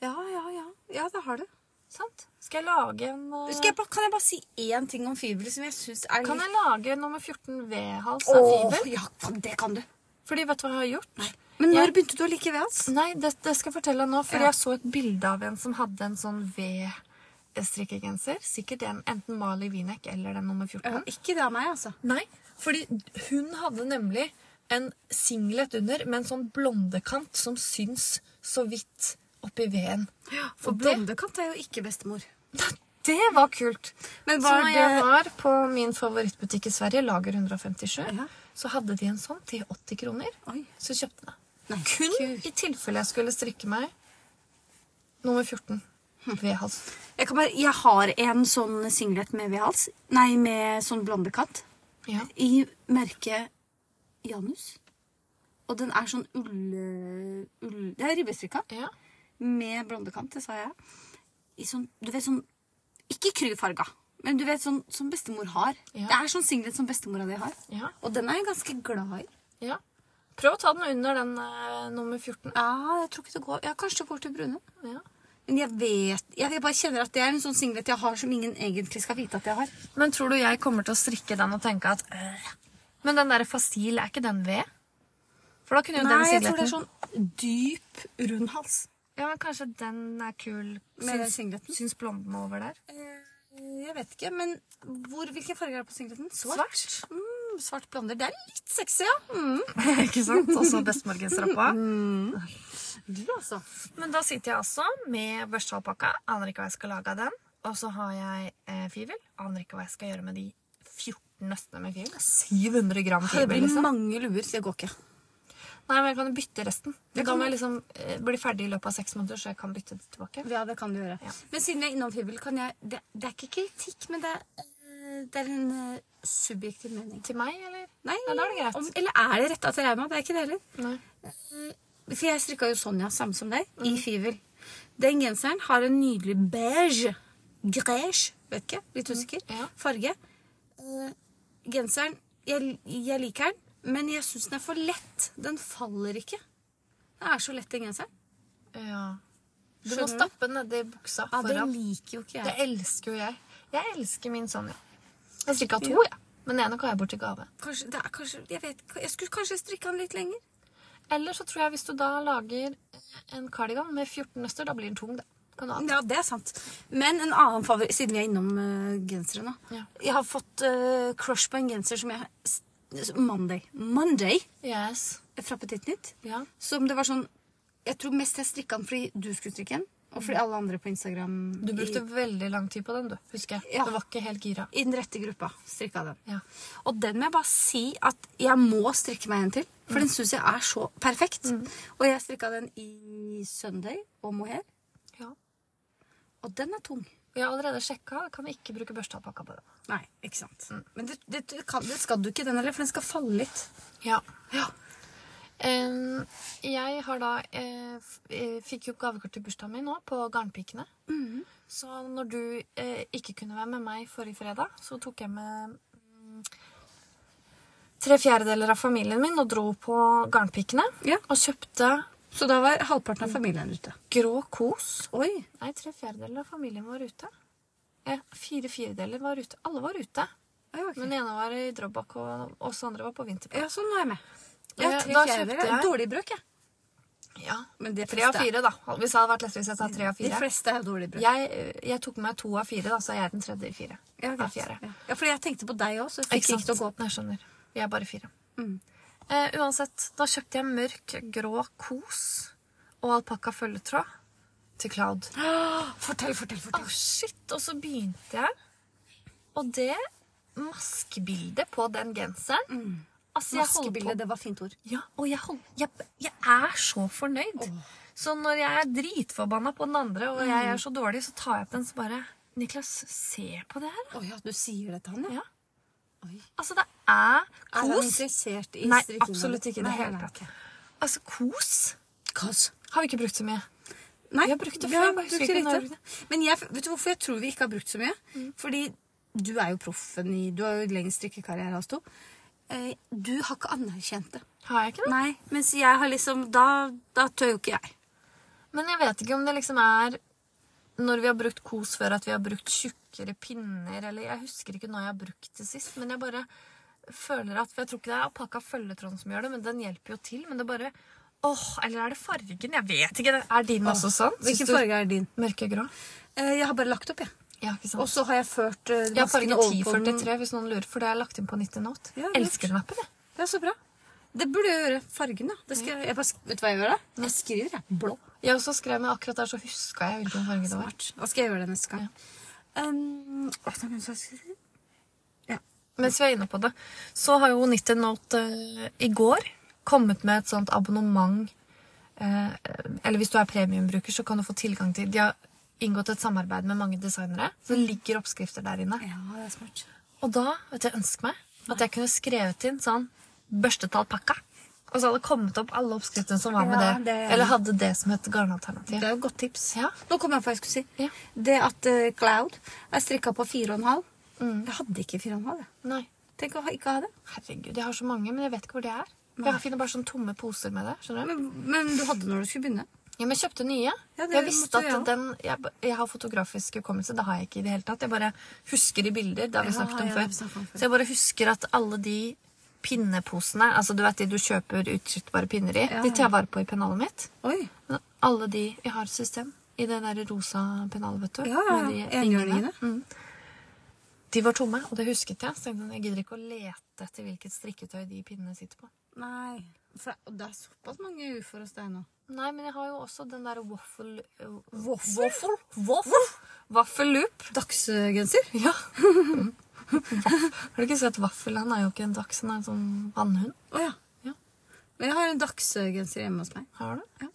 Ja, ja, ja. Ja, det har du.
Sant? Skal jeg lage en eh,
Skal jeg bare, kan jeg bare si én ting om fiber som jeg syns er litt sånn
Kan jeg lage nummer 14 V-hals av
Åh,
fivel?
ja, det kan du.
Fordi vet du hva jeg har gjort?
Men når
Jeg-
begynte du å like ved hans?
Nei, det, det skal jeg fortelle deg nå, fordi
Ja.
jeg så et bilde av en som hadde en sånn V-strikkegenser. Sikkert den, enten Mali Winek eller den nummer 14.
Ikke det av meg, altså.
Nei, fordi hun hadde nemlig en singlet under med en sånn blondekant som syns så vidt oppi veden.
For
Og det-
blondekant er jo ikke bestemor.
Det var kult.
Men
så
var
når jeg var på min favorittbutikk i Sverige, Lager 157,
Ja.
så hadde de en sånn til 80 kroner.
Oi.
Så kjøpte jeg den.
Nei,
Kun
kult.
i tilfelle jeg skulle strikke meg nummer 14
Hm.
ved hals.
Jeg, kan bare, jeg har en sånn singlet med V-hals. Nei, med sånn blondekant.
Ja.
I merket Janus. Og den er sånn ull... ull det er ribbestrikka
Ja.
med blondekant, det sa jeg. I sånn, du vet sånn Ikke kryfarga, men du vet sånn som bestemor har.
Ja.
Det er sånn singlet som bestemora di har.
ja.
Og den er jeg ganske glad i.
ja. Prøv å ta den under den eh, nummer 14.
Ja, jeg tror ikke det går. Ja, kanskje det går til brune.
Ja.
Men jeg vet Jeg vil bare kjenner at det er en sånn singlet jeg har som ingen egentlig skal vite at jeg har.
Men tror du jeg kommer til å strikke den og tenke at øh. Men den der fasil, er ikke den ved? For da kunne jo den
Nei, jeg
singleten
tror det er sånn dyp, rund hals.
Ja, men kanskje den er kul.
Med den Eh,
Syns,
singleten?
syns blonden over der?
Jeg vet ikke, men hvor, hvilken farge er det på singleten?
Svart.
Mm, svart blonder. Det er litt sexy, ja. Mm.
ikke sant? Og så bestemorgensrappa.
Du, altså.
Men da sitter jeg altså med børstealpakka. Aner ikke hva jeg skal lage av den. Og så har jeg eh, fivel. Aner ikke hva jeg skal gjøre med de 14 nøstene med fivel. 700 gram
Det
fivel.
blir
Liksom.
mange luer. Det går ikke.
Nei, men jeg kan jo bytte resten.
Det
da
kan
må jeg liksom eh, bli ferdig i løpet av seks måneder, så jeg kan bytte det tilbake.
Ja, det kan du gjøre. Men siden jeg er innom fivel, kan jeg Det, det er ikke kritikk, men det er, eh, det er en eh, subjektiv mening.
Til meg, eller?
Nei,
Ja, da er det greit.
Om, eller er det retta til Reima? Det er ikke det heller.
Nei.
For jeg strikka jo Sonja, samme som deg,
Mhm.
i fivel. Den genseren har en nydelig beige Greige, vet ikke, litt usikker,
Mhm, ja.
farge. Eh, Genseren jeg, jeg liker den, men jeg syns den er for lett. Den faller ikke. Den er så lett, den genseren.
Ja. Du
Skjønner
må
du?
stappe den nedi buksa
Ja, Det
foran.
liker jo ikke
Det
jeg.
elsker jo jeg. Jeg elsker min Sonja. Jeg strikka to, jeg. Men den ene ga jeg bort til gave.
Kanskje, det er, kanskje, jeg, vet, ikke, jeg skulle kanskje strikka den litt lenger.
Eller så tror jeg hvis du da lager en kardigan med 14 nøster, da blir den tung, da. Kan du ha den.
Ja, det er sant. Men en annen favoritt, siden vi er innom uh, gensere nå.
Ja.
Jeg har fått eh, crush på en genser som jeg s- Monday. Monday
Yes.
fra Petit Nytt.
Ja.
Som det var sånn Jeg tror mest jeg strikka den fordi du skulle strikke den, og fordi alle andre på Instagram
Du brukte veldig lang tid på den, du. Husker jeg.
Ja.
Du var ikke helt gira.
i, i den rette gruppa strikka den.
Ja.
Og den må jeg bare si at jeg må strikke meg en til, for
Mm.
den syns jeg er så perfekt. Og jeg strikka den i Sunday og mohair,
Ja.
og den er tung.
Vi har allerede sjekka. Kan vi ikke bruke børstealpakka på den?
Nei, ikke sant.
Mm.
Men det, det, det, kan, det skal du ikke den heller, for den skal falle litt.
Ja.
Ja.
Em, jeg har da eh, f- eh, Fikk jo gavekort til bursdagen min nå, på Garnpikene. Så når du eh, ikke kunne være med meg forrige fredag, så tok jeg med mm, tre fjerdedeler av familien min og dro på Garnpikene.
Ja.
Og kjøpte
Så da var halvparten
Mm.
av familien ute.
grå kos.
Oi.
Nei, tre fjerdedeler av familien var ute. Eh, fire firedeler var ute. Alle var ute.
Ja, ok.
Men den ene var i Drøbak, og oss andre var på Vinterpark.
ja, sånn nå er jeg med.
Ja,
Ja, tre
da
fjerdedeler.
kjøpte jeg-
Dårlig brøk, jeg.
Ja.
Men det
Tre av fire, da. Hvis det hadde vært lettere hvis jeg sa tre av
De
fire.
fleste er jo dårlig brøk.
Jeg, eh, jeg tok med meg to av fire, da, så er jeg den tredje i fire.
Ja,
av
greit.
fire.
Ja. ja, fordi jeg tenkte på deg òg, så jeg fikk ikke til å gå opp.
Nei, jeg skjønner. Vi er bare fire.
Mm.
Eh, uansett, da kjøpte jeg mørk grå kos og alpakka følgetråd til Cloud.
Fortell, fortell,
Å, shit! Og så begynte jeg. Og det maskebildet på den genseren altså, jeg holder
Mm.
på-
Maskebilde, det var fint ord.
Ja, og jeg, hold, jeg, jeg er så fornøyd. Så når jeg er dritforbanna på den andre, og
Mm.
jeg er så dårlig, så tar jeg opp den så bare Niklas, se på det her.
Å ja, du sier det til han,
Ja.
Oi.
Altså, det er
Er han
kos.
interessert i
Nei,
strikkinga?
absolutt ikke i det
Nei,
hele
nei,
tatt.
ok.
Altså, kos
Kos.
har vi ikke brukt så mye.
Nei,
Vi har brukt det
vi
før,
har
bare husker
brukt det Mm.
ikke når
lite.
vi har
Men jeg, vet du hvorfor jeg tror vi ikke har brukt så mye? Fordi du er jo proffen i Du har jo lengst strikkekarriere av oss to. Eh, Du har ikke anerkjent det.
Har jeg ikke det?
Nei, mens jeg har liksom Da, da tør jo ikke jeg.
Men jeg vet ikke om det liksom er når vi har brukt kos før, at vi har brukt tjukkere pinner, eller jeg husker ikke når jeg har brukt det sist, men jeg bare føler at For jeg tror ikke det er alpakka følgetråden som gjør det, men den hjelper jo til. Men det bare Åh, eller er det fargen? Jeg vet ikke. Er din også sånn? Syns
Hvilken
du-
farge er din?
Mørkegrå.
Eh, Jeg har bare lagt opp, jeg.
Ja, ikke sant.
Og så har jeg ført eh,
jeg har
maskene
farge
over på den-
1043 hvis noen lurer, for det har jeg lagt inn på 90 Note.
Ja, lurt.
Elsker den appen, jeg.
Ja, så bra. Det burde jeg gjøre. Fargen, da. Det skal jeg, jeg bare, sk- vet du hva jeg gjør da? Jeg skriver jeg. blå.
Jeg også skrev med akkurat der, så huska jeg hvilken farge det var.
Smart. Da skal jeg gjøre det neste gang. Um, å, det er noen som skriver.
Mens vi er inne på det, så har jo 90 Note eh, i går kommet med et sånt abonnement eh, Eller hvis du er premiumbruker, så kan du få tilgang til De har inngått et samarbeid med mange designere. Så det ligger oppskrifter der inne.
Ja, det er smart.
Og da vet du, jeg ønsker meg at jeg kunne skrevet inn sånn børstet alpakka. Og så hadde det kommet opp alle oppskriftene som var med
Ja,
det.
det er jeg
Eller
enig.
hadde det som et garnalternativ.
Det er jo et godt tips.
Ja.
Nå kom jeg på hva jeg skulle si.
Ja.
Det at eh, Cloud er strikka på 4,5. Jeg hadde ikke 4,5. jeg.
Nei.
Tenk å ha- ikke ha det.
Herregud, jeg har så mange, men jeg vet ikke hvor de er. Jeg finner bare sånne tomme poser med det. skjønner du?
Men, men du hadde når du skulle begynne.
Ja, men jeg kjøpte nye.
Ja, det
jeg visste
måtte jeg
at
også.
den, jeg, b- jeg har fotografisk hukommelse. Det har jeg ikke i det hele tatt. Jeg bare husker i bilder. Det har vi
Ja,
snakket
ja,
om
det har
før.
vi snakket om før.
Så jeg bare husker at alle de pinneposene, altså du vet de du kjøper utskyttbare pinner i,
Ja,
de
ja.
tar jeg vare på i pennalet mitt.
Oi.
Men alle de Jeg har et system i det der rosa pennalet, vet du.
Ja, ja,
med de
ja.
ringene.
Enhjørningene.
De var tomme, og det husket jeg. Så jeg tenkte, sånn, jeg gidder ikke å lete etter hvilket strikketøy de pinnene sitter på.
Nei. For det- det er såpass mange ufor hos deg nå.
Nei, men jeg har jo også den der waffle... eh,
Waffle?
Waffle? Waffle? Vaffelloop.
Dagsgenser?
Ja. Har du ikke sett vaffel? Han er jo ikke en dachs, han er en sånn vannhund.
Å ja.
Ja.
Men jeg har en dagsgenser hjemme hos meg.
Har du?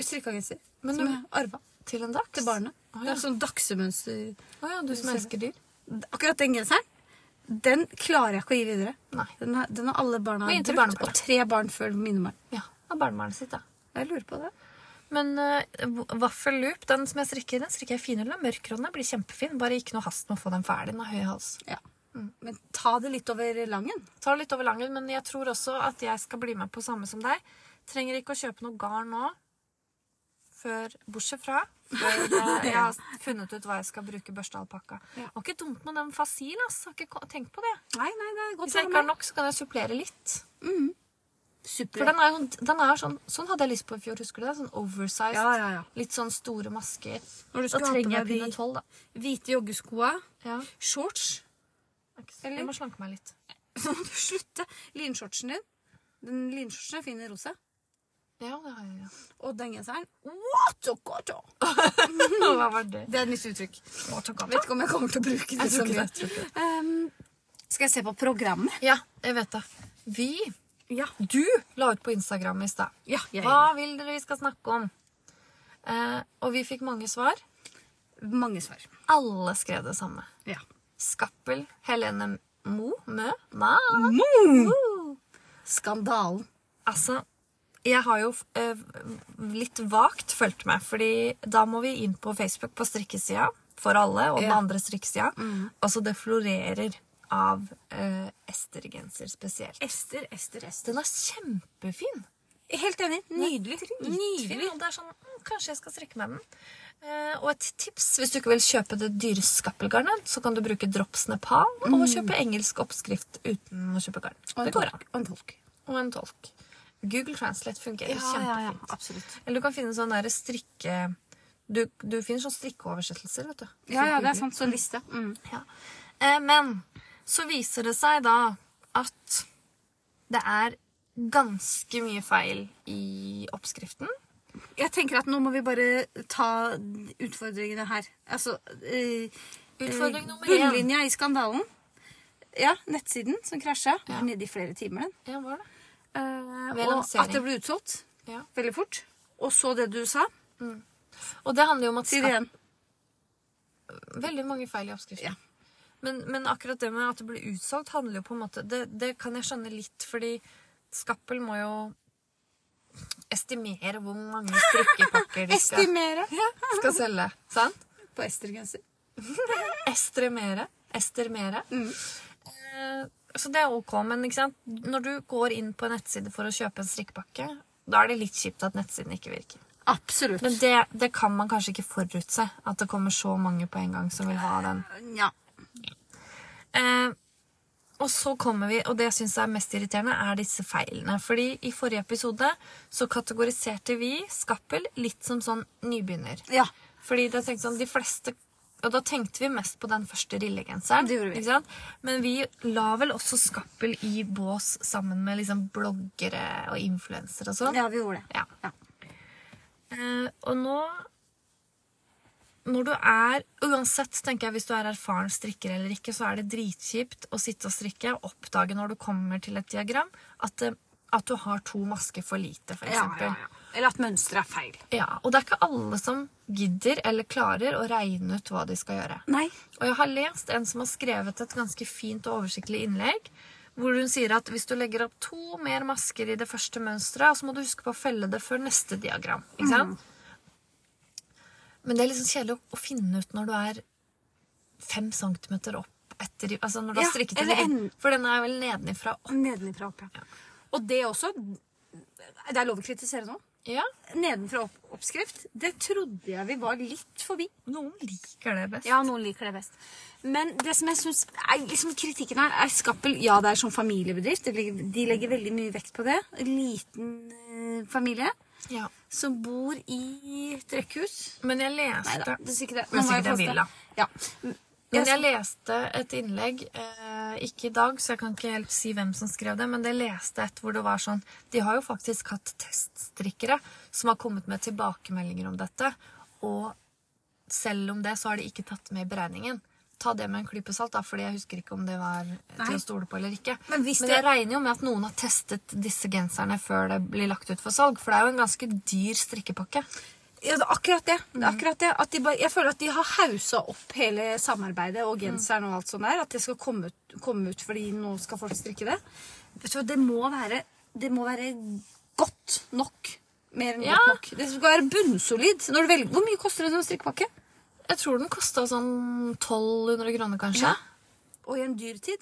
Strikka genser.
Men
som
du-
jeg arva
Til en dachs?
til barnet.
Å
Det
ja.
er sånn dagsemønster.
Å ja, du som elsker dyr.
Akkurat den genseren, den klarer jeg ikke å gi videre.
Nei.
Den har, den har alle barna
Men inntil
brukt,
barnebarna.
og tre barn før mine barn.
Ja, det er barnebarnet sitt, da.
Jeg lurer på det.
Men uh, vaffelloop, den som jeg strikker, den strikker jeg fin under. Mørkrønn den blir kjempefin. Bare ikke noe hast med å få den ferdig. Den har høy hals.
Ja. Men ta det litt over langen.
Tar litt over langen, men jeg tror også at jeg skal bli med på samme som deg. Trenger ikke å kjøpe noe garn nå. Før, bortsett fra før eh, jeg har funnet ut hva jeg skal bruke børstealpakka.
Ja.
Og ikke dumt med den fasil, ass. Har ikke ko- tenkt på det.
Nei, nei, det er godt
Hvis jeg ikke har nok, så kan jeg supplere litt. For
Super.
den er jo sånn- den er jo sånn Sånn hadde jeg lyst på i fjor, husker du det? Sånn oversized.
Ja, ja, ja.
Litt sånn store masker.
Når du
Da
skal ha på
trenger jeg
deg de
pinne 12, da.
hvite joggeskoa,
Ja.
shorts
Jeg må slanke meg litt.
Så må du slutte. Linshortsen din. Den linshortsen er fin i rosa.
Ja, det har jeg. ja.
Og den genseren What a god oh!
Hva var det?
Det er et nytt uttrykk.
Jeg
Vet ikke om jeg kommer til å bruke det.
tror
som
ikke
det.
det.
Ehm, skal jeg se på programmet?
Ja, jeg vet det. Vi,
Ja.
du, la ut på Instagram i stad.
ja jeg,
Hva vil dere vi skal snakke om? Eh, og vi fikk mange svar.
Mange svar.
Alle skrev det samme.
Ja.
Skappel, Helene Mo, Mø, Ma.
Skandalen.
Altså, jeg har jo eh, litt vagt fulgt med, fordi da må vi inn på Facebook på strikkesida for alle, og den
Ja. Mm.
andre strikkesida. Altså, det florerer av eh, estergenser spesielt.
Ester, Ester, Ester.
Den er kjempefin.
Helt enig. Nydelig.
Nydelig. Og det er sånn, mm, kanskje jeg skal strikke med den. Eh, og et tips, hvis du ikke vil kjøpe det dyre skappelgarnet, så kan du bruke Drops Nepal og kjøpe engelsk oppskrift uten å kjøpe garn.
Mm. Og
Det
en
går an.
tolk. Og en tolk.
Og en tolk. Google Translate fungerer kjempefint.
Absolutt.
Eller du kan finne sånn derre strikke... Du, du finner sånn strikkeoversettelser, vet du.
Ja, ja, det er sant. Så liste. Mm.
Ja. Eh, men så viser det seg da at det er ganske mye feil i oppskriften.
Jeg tenker at nå må vi bare ta utfordringene her. Altså eh,
Utfordring
eh,
nummer
Bunnlinja i skandalen. Ja, nettsiden som krasja.
Ja.
Var Nede i flere timer, den.
Ja, hva er det?
Eh,
Ved
og
lansering.
at det ble utsolgt
Ja.
veldig fort. Og så det du sa.
Og det handler jo om at
Si det igjen.
Veldig mange feil i oppskriften.
Ja.
Men, men akkurat det med at det blir utsolgt, handler jo på en måte Det, det kan jeg skjønne litt, fordi Skappel må jo estimere hvor mange strikkepakker de skal,
Estimere
skal selge. Sant?
på Ester-genser.
Estremere. Estermere. Eh, Så det er ok, men ikke sant? når du går inn på en nettside for å kjøpe en strikkepakke, da er det litt kjipt at nettsiden ikke virker.
Absolutt.
Men det, det kan man kanskje ikke forutse, at det kommer så mange på en gang som vil ha den.
ja.
Eh, og så kommer vi, og det jeg syns er mest irriterende, er disse feilene. Fordi i forrige episode så kategoriserte vi Skappel litt som sånn nybegynner.
ja.
Fordi da tenkte jeg sånn, de fleste Og da tenkte vi mest på den første lillegenseren.
Det gjorde vi.
Ikke sant? Men vi la vel også Skappel i bås sammen med liksom bloggere og influensere og sånn.
ja, vi gjorde det.
Ja.
Ja.
Eh, og nå når du er, Uansett, tenker jeg, hvis du er erfaren strikker eller ikke, så er det dritkjipt å sitte og strikke og oppdage når du kommer til et diagram, at, det- at du har to masker for lite, for
Ja,
eksempel.
ja, ja. Eller at mønsteret er feil.
Ja, og det er ikke alle som gidder eller klarer å regne ut hva de skal gjøre.
Nei.
Og jeg har lest en som har skrevet et ganske fint og oversiktlig innlegg, Hvor hun sier at hvis du legger opp to mer masker i det første mønsteret, så må du huske på å felle det før neste diagram. Ikke sant? Men det er liksom kjedelig å- å finne ut når du er fem centimeter opp etter Altså når du
Ja,
har strikket i
eller
ryggen.
en-
For den er vel nedenifra opp.
Nedenfra og opp, ja. Og det også Det er lov å kritisere nå.
Ja,
Nedenfra opp oppskrift, det trodde jeg vi var litt forbi.
noen liker det best.
Ja, noen liker det best. Men det som jeg synes er liksom kritikken her, er Skappel Ja, det er som familiebedrift. De legger, de legger veldig mye vekt på det. En liten eh, familie
Ja.
som bor i et rekkehus.
Men jeg
Nei da,
leste
det er sikkert det.
Men
Nå må jeg
sikkert en
kaste.
villa.
Ja.
Men jeg leste et innlegg, eh, ikke i dag, så jeg kan ikke helt si hvem som skrev det, men det leste et hvor det var sånn De har jo faktisk hatt teststrikkere som har kommet med tilbakemeldinger om dette, og selv om det, så har de ikke tatt med i beregningen. Ta det med en klype salt, da, fordi jeg husker ikke om det var
Nei.
til å stole på eller ikke.
Men hvis
jeg
det-
regner jo med at noen har testet disse genserne før det blir lagt ut for salg, for det er jo en ganske dyr strikkepakke.
Ja, det er akkurat det. det,
Mm.
er akkurat det. At de bare, jeg føler at de har hausa opp hele samarbeidet og genseren og alt sånt der. At det skal komme ut, komme ut fordi nå skal folk strikke det. Vet du hva, det må være, det må være godt nok. Mer enn
Ja.
godt nok. Det skal være bunnsolid. Når du velger, hvor mye koster en sånn strikkepakke?
Jeg tror den kosta sånn 1200 kroner, kanskje.
Og i en dyr tid?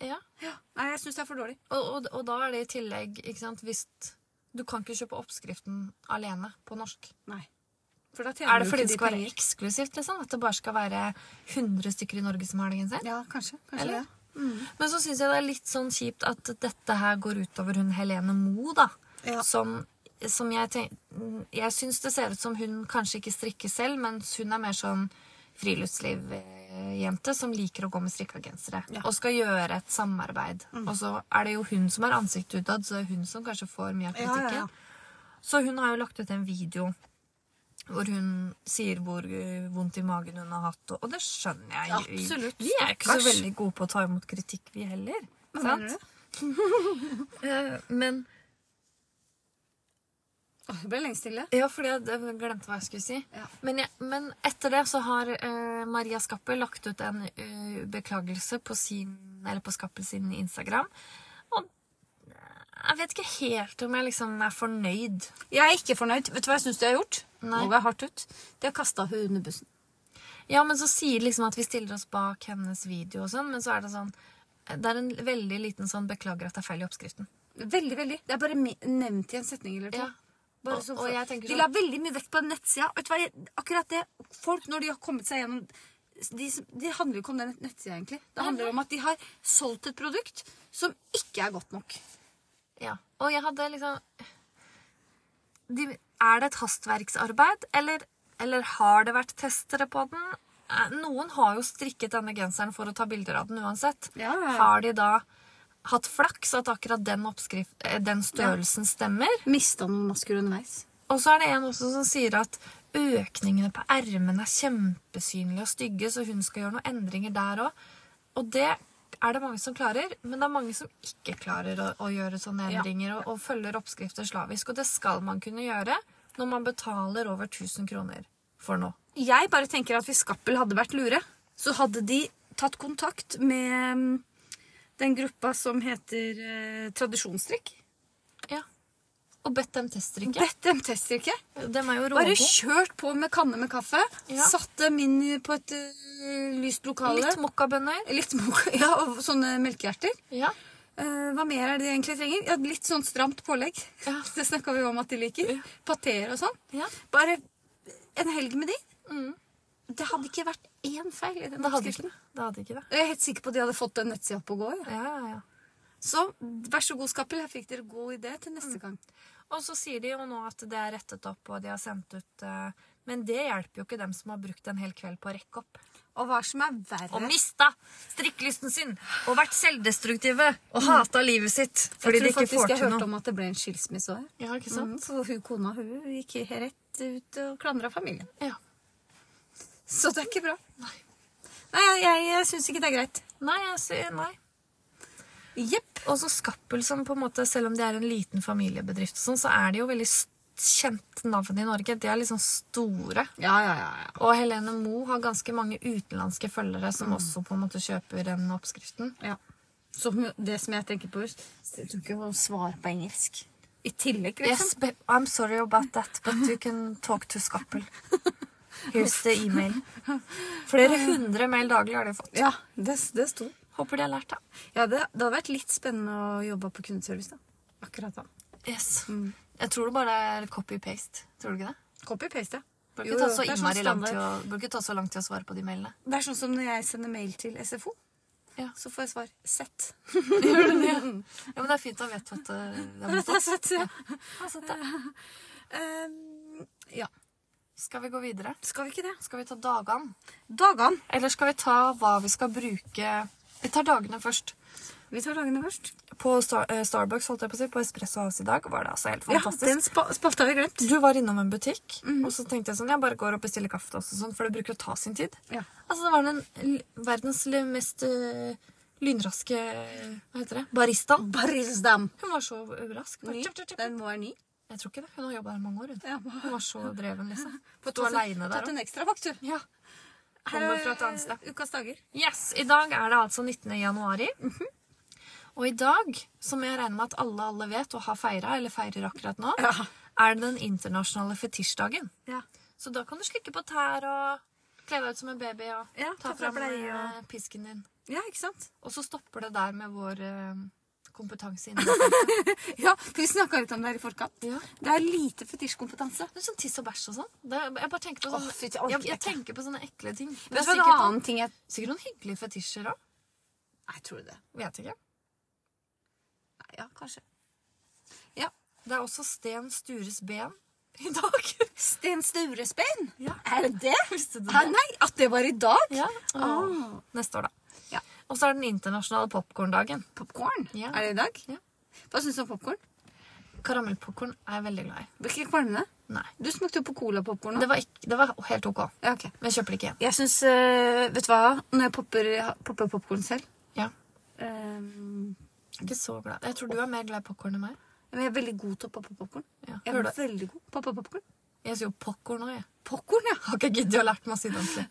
Ja.
Ja. Nei, jeg syns det er for dårlig.
Og, og, og da er det i tillegg ikke sant, hvis Du kan ikke kjøpe oppskriften alene på norsk.
Nei. For da tjener
Er
du
det
ikke
fordi det
de
skal være
penger.
eksklusivt? liksom? At det bare skal være 100 stykker i Norge som har det genser?
Ja, kanskje. kanskje
Eller?
det.
Men så syns jeg det er litt sånn kjipt at dette her går utover hun Helene Moe, da.
Ja.
Som, som jeg tenk, Jeg syns det ser ut som hun kanskje ikke strikker selv, mens hun er mer sånn friluftslivjente som liker å gå med strikka gensere.
Ja. Mm.
Og skal gjøre et samarbeid. Og så er det jo hun som er ansiktet utad, så det er hun som kanskje får mye av
Ja, ja,
kritikken.
ja.
Så hun har jo lagt ut en video hvor hun sier hvor eh, vondt i magen hun har hatt. Og og det skjønner jeg.
Absolutt,
Vi, vi er ikke så
stakkars.
veldig gode på å ta imot kritikk, vi heller.
Hva mener
sant? Eh, Men
Åh, Det ble lenge stille.
Ja, fordi jeg jeg glemte hva jeg skulle si.
Ja.
Men, jeg, men etter det så har eh, Maria Skappel lagt ut en eh, beklagelse på, sin, eller på Skappel sin Instagram. Og jeg vet ikke helt om jeg liksom er fornøyd.
Jeg er ikke fornøyd. Vet du hva jeg syns de har gjort?
Nei.
Nå går jeg hardt ut. De har kasta hun under bussen.
Ja, men så sier de liksom at vi stiller oss bak hennes video og sånn, men så er det sånn Det er en veldig liten sånn 'beklager at det er feil i oppskriften'.
Veldig, veldig. Det er bare me- nevnt i en setning eller to.
Ja.
Bare
Og-
så
og jeg tenker
de
sånn-
la veldig mye vekt på den nettsida. Vet du hva, jeg- Akkurat det. Folk, når de har kommet seg gjennom de, som- det handler jo ikke om den nettsida, egentlig. Det handler om at de har solgt et produkt som ikke er godt nok.
Ja. Og jeg hadde liksom de, Er det et hastverksarbeid, eller, eller har det vært testere på den? Eh, Noen har jo strikket denne genseren for å ta bilder av den uansett.
Ja, ja, ja.
Har de da hatt flaks at akkurat den, oppskrift, eh, den størrelsen stemmer?
Mista noen masker underveis.
Og så er det en også som sier at økningene på ermene er kjempesynlige og stygge, så hun skal gjøre noen endringer der òg. Og det er det mange som klarer, men det er mange som ikke klarer å, å gjøre sånne
Ja.
endringer og, og følger oppskrifter slavisk. Og det skal man kunne gjøre når man betaler over 1000 kroner for noe.
Jeg bare tenker at hvis Skappel hadde vært lure, så hadde de tatt kontakt med mm, den gruppa som heter eh, Tradisjonsstrikk.
Ja. Og bedt dem teststrikke.
Bedt dem teststrikke.
Dem er jo
Bare
rågode.
kjørt på med kanne med kaffe.
Ja.
Satt dem inn i- på et ø, lyst lokale.
Litt mokkabønner.
Litt mok- ja, og sånne melkehjerter.
Ja.
Eh, hva mer er det de egentlig trenger? Ja, litt sånn stramt pålegg.
Ja.
Det snakka vi om at de liker. Pateer og sånn.
Ja.
Bare en helg med de. Det hadde ikke vært én feil i den
Mm. Det hadde ikke
oppskriften.
det. Det hadde ikke det.
Jeg er helt sikker på at de hadde fått den nettsida opp å gå. Ja.
Ja, ja, ja.
Så vær så god, Skappel. Her fikk dere god idé til
Mm.
neste gang.
Og så sier de jo nå at det er rettet opp, og de har sendt ut eh, Men det hjelper jo ikke dem som har brukt en hel kveld på å rekke opp.
Og hva som er verre
Og mista strikkelysten sin! Og vært selvdestruktive! Og hata livet sitt fordi de
Mm. Jeg tror
ikke
faktisk
får
jeg
til
hørte
noe.
om at det ble en skilsmisse òg.
Ja, ikke
Mm, for hun kona hun gikk rett ut og klandra familien.
Mm. Ja.
Så det er ikke bra. Nei, jeg, jeg, jeg syns ikke det er greit.
Nei, jeg sier nei.
Jepp.
Og så Skappel, som på en måte, selv om det er en liten familiebedrift, og sånn, så er det jo veldig s- kjent navn i Norge. De er liksom store.
Ja, ja, ja, ja.
Og Helene
Mm.
Moe har ganske mange utenlandske følgere som også på en måte kjøper den oppskriften.
Som det som jeg tenker på Jeg tror ikke noe svar på engelsk. I tillegg,
Yes,
liksom.
babe, I'm sorry about that, but you can talk to Skappel. Here's the email. Flere hundre mail daglig har de fått.
Ja, det, det sto.
Håper de har lært, da.
Ja, det, det hadde vært litt spennende å jobbe på kundeservice da. Akkurat da.
Yes.
Mm.
Jeg tror det bare er copy-paste. Tror du ikke det?
Copy-paste, ja.
Bør
Jo,
ikke ta
jo,
så
det er sånn
innmari lang tid
standard.
å, bør ikke ta så lang tid å svare på de mailene.
Det er sånn som når jeg sender mail til SFO.
Ja.
Så får jeg svar sett.
Ja, Men det er fint å vite at eh, det er
Det er
mottatt.
sett, ja.
Ja, sant det.
Um, ja.
Skal vi gå videre?
Skal vi ikke det?
Skal vi ta dagene?
Dagene.
Eller skal vi ta hva vi skal bruke Vi tar dagene først.
Vi tar dagene først.
På Star eh, Starbucks, holdt jeg på å si, på Espresso House i dag, var det altså helt
Ja,
fantastisk.
den spa spalta vi glemt.
Du var innom en butikk,
Mhm.
og så tenkte jeg sånn, jeg bare går og bestiller kaffe til oss og sånn, for det bruker å ta sin tid.
Ja.
Altså, det var den l- verdens l- mest øh, lynraske, hva heter det, baristaen.
Barisdam.
Hun var så øh, rask. Bare
Ny.
tjup, tjup, tjup.
Den må være ny.
Jeg tror ikke det, hun har jobbet her mange år, hun.
Ja,
Hun var så dreven, liksom. Stå
tatt en-
alene der
Tatt
også.
en ekstra vakt, du.
Ja. Kommer fra et annet sted.
eh, Ukas dager.
Yes, i dag er det altså 19. januari.
Mhm.
Og i dag, som jeg regner med at alle alle vet og har feira, eller feirer akkurat nå,
Ja.
er det den internasjonale fetisjdagen.
Ja.
Så da kan du slikke på tær og kle deg ut som en baby og
Ja,
ta
ta fra
fram
bleie
eh,
og-
pisken din.
ikke sant?
Og så stopper det der med vår eh, kompetanse innen det.
Ja, for Vi snakka litt om det her i forkant.
Ja.
Det er lite fetisjkompetanse.
Men sånn tiss og bæsj og sånn. Det, jeg bare tenker på sånne,
Åh, fy, det orker
jeg,
jeg
jeg
ikke.
tenker på sånne ekle ting.
Vet du hva
Men
en
sikkert, noen-
annen ting jeg
sikkert noen hyggelige fetisjer òg.
Nei, tror du det?
Vet ikke.
Nei, ja, kanskje.
Det er også Sten Stures ben i dag.
Sten Sturespein?
Ja.
Er det det?
Visste du
Ah, nei, at det var i dag?
Ja.
Ah.
Neste år, da.
Ja.
Og så er det den internasjonale popkorndagen.
Popcorn?
Ja.
Er det i dag?
Ja.
Hva syns du om popkorn?
Karamellpopkorn er jeg veldig glad i.
Blir ikke kvalmende?
Nei.
Du smakte jo på colapopkorn. nå.
Det var, ikke, det var helt ok,
Ja, ok.
men jeg kjøper det ikke igjen.
Jeg syns eh, Vet du hva? Når jeg popper, popper popkorn selv
Ja.
ehm,
Jeg er ikke så glad. Jeg tror du er mer glad i popkorn enn meg.
Men jeg er veldig god til å poppe popkorn.
Ja.
Jeg
Hører
er
du?
veldig god på å poppe popkorn.
Jeg sier jo popkorn òg, jeg.
Popkorn, ja.
Har ikke giddet å lært meg å si det ordentlig.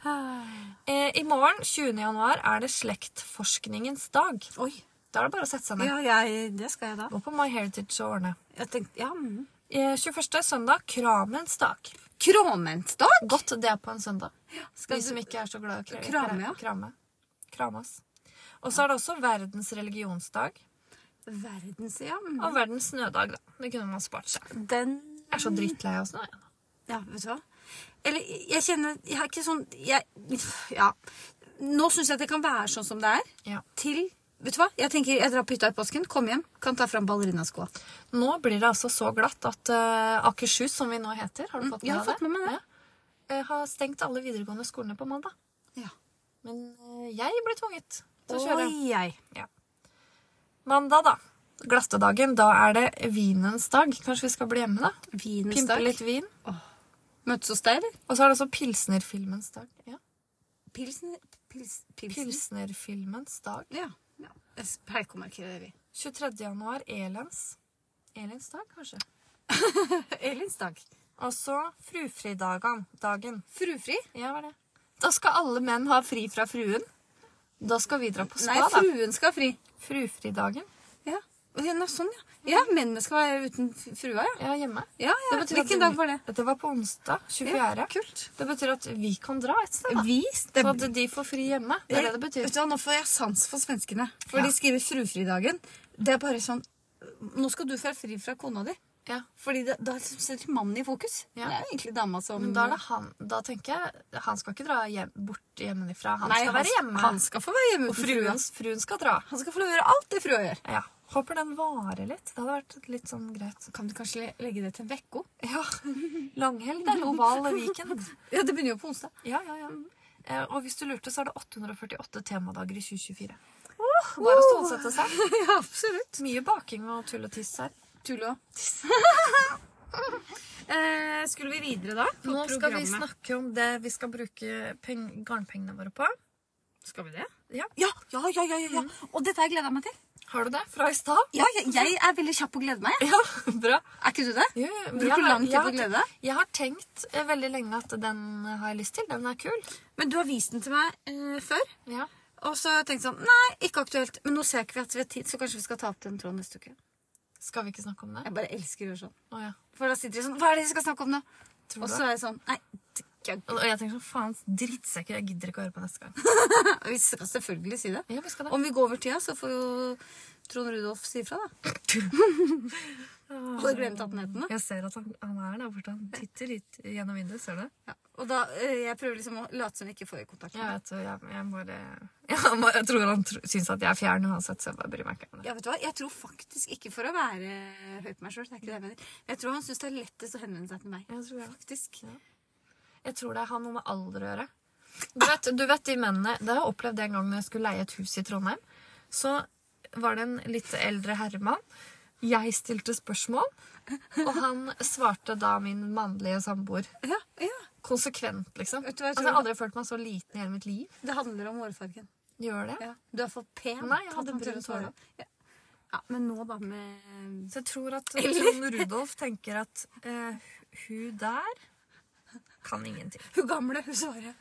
Eh, I morgen, 20. januar, er det slektforskningens dag.
Oi.
Da er det bare å sette seg ned.
Ja, jeg, det skal jeg da.
Gå på MyHeritage og ordne.
Jeg tenkte, ja. Mm.
Eh, 21. søndag, kramens dag.
Kråmensdag?
Godt det er på en søndag.
Skal
De som
du-
ikke er så glad i kra-
Krame, ja.
krame. Kramas. Og så er det også verdens religionsdag
Verdens, ja. mm.
og verdens snødag. da. Det kunne man spart seg.
Den
Jeg er så drittlei av snø. jeg.
Ja, vet du hva? Eller jeg kjenner Jeg har ikke sånn jeg, Ja. Nå syns jeg at det kan være sånn som det er.
Ja.
Til Vet du hva? Jeg tenker, jeg drar på hytta i påsken, kom hjem, kan ta fram ballerinaskoa.
Nå blir det altså så glatt at eh, Akershus, som vi nå heter, har du fått
Mm,
med
jeg har
deg
fått med meg det.
Ja. Eh, har stengt alle videregående skolene på mandag.
Ja.
Men eh, jeg ble tvunget til å kjøre.
Oi, ei.
Mandag, da. Glattedagen. Da er det vinens dag. Kanskje vi skal bli hjemme, da?
Vinens
Pimpe
dag.
litt vin.
Møttes hos deg, eller?
Og så er det også pilsnerfilmens dag. Ja.
Pilsen Pils... Pilsen.
Pilsnerfilmens dag.
Ja. ja. Peikomarkerer vi.
23. januar, Elens. Elens dag, kanskje.
Elins dag.
Og så frufridagen. Dagen.
Frufri?
Ja, hva er det? Da skal alle menn ha fri fra fruen. Da skal vi dra på
Nei,
spa, da.
fruen skal ha fri.
Frufridagen.
Ja. ja, nei, sånn, ja. Ja, mennene skal være uten f- frua, ja.
Ja, hjemme.
ja, ja. Hvilken dag var det?
Det var på onsdag, 24.
Kult.
Det betyr at vi kan dra et sted, da.
Vi
Så at de får fri hjemme. Det er det det betyr.
Vet du hva, Nå får jeg sans for svenskene. For
Ja.
de skriver frufridagen. Det er bare sånn Nå skal du få fri fra kona di.
Ja.
Fordi det, da setter mannen i fokus.
Ja.
Det er jo egentlig dama som
Men da er det han Da tenker jeg Han skal ikke dra hjem, bort hjemmefra. Han
Nei,
skal være hjemme.
Han skal få være hjemme
og
uten frua.
fruen, fruen skal dra.
Han skal få lov å gjøre alt det frua gjør.
Ja. Håper den varer litt. Det hadde vært litt sånn greit.
Kan du kanskje le- legge det til en uke?
Ja. Langhelg eller oval weekend.
Ja, det begynner jo på onsdag.
Ja, ja, ja. Eh, Og hvis du lurte, så er det 848 temadager i 2024. Bare å stålsette seg.
ja, absolutt.
Mye baking og tull og tiss her.
Tull og eh, Skulle vi videre, da? på
Nå skal vi
programmet?
snakke om det vi skal bruke peng- garnpengene våre på.
Skal vi det? Mm.
Ja.
Ja, ja, ja. ja, ja, ja. Og dette har jeg gleda meg til.
Har du det fra i stad?
Ja, jeg, jeg er veldig kjapp på å glede meg. jeg.
Ja, bra.
Er ikke du det?
Jo, jo, men
Bruker
jeg
du
har-
lang tid
jeg
på å
har-
glede deg?
Jeg har tenkt eh, veldig lenge at den har jeg lyst til. Den er kul.
Men du har vist den til meg eh, før.
Ja.
Og så tenkte jeg sånn Nei, ikke aktuelt. Men nå ser jeg ikke at vi har tid, så kanskje vi skal ta opp den tråden neste uke.
Skal vi ikke snakke om det?
Jeg bare elsker å gjøre sånn.
Å, ja.
For da sitter de sånn Hva er det vi skal snakke om nå?
Tror
Og
du
så
det?
er jeg sånn Nei, det kan jeg ikke."
Og og jeg tenker sånn, faen, drittsekker, jeg gidder ikke å høre på neste gang.
vi skal selvfølgelig si det.
Ja, vi skal det.
Om vi går over tida, så får jo Trond Rudolf si ifra, da. Hadde glemt 18-hetene.
Jeg ser at han, han er der borte. Han titter litt gjennom vinduet, ser du?
Ja. Og da, eh, jeg prøver liksom å late som vi ikke får kontakt.
Jeg vet, og jeg, jeg bare jeg, må- jeg tror han tr syns at jeg er fjern uansett, så jeg bare bryr meg ikke om det.
Ja, vet du hva? Jeg tror faktisk, ikke for å være høy på meg sjøl, men jeg tror han syns det er lettest å henvende seg til meg.
Jeg tror,
Faktisk.
jeg tror det har noe med alder å gjøre. Du vet, du vet de mennene Det har jeg opplevd en gang når jeg skulle leie et hus i Trondheim. Så var det en litt eldre herremann. Jeg stilte spørsmål, og han svarte da min mannlige samboer.
Ja, ja.
Konsekvent, liksom.
Vet du hva,
Altså,
jeg
jeg
tror
har aldri følt meg så liten i hele mitt liv.
Det handler om hårfargen.
Gjør det?
Ja. Du er for pen.
Nei, jeg
til at
hadde
man tør å
brunt
svare.
hår.
Ja. ja, men nå da med
Så jeg tror at Trond Rudolf tenker at eh, hun der kan ingenting.
Hun gamle, hun svarer.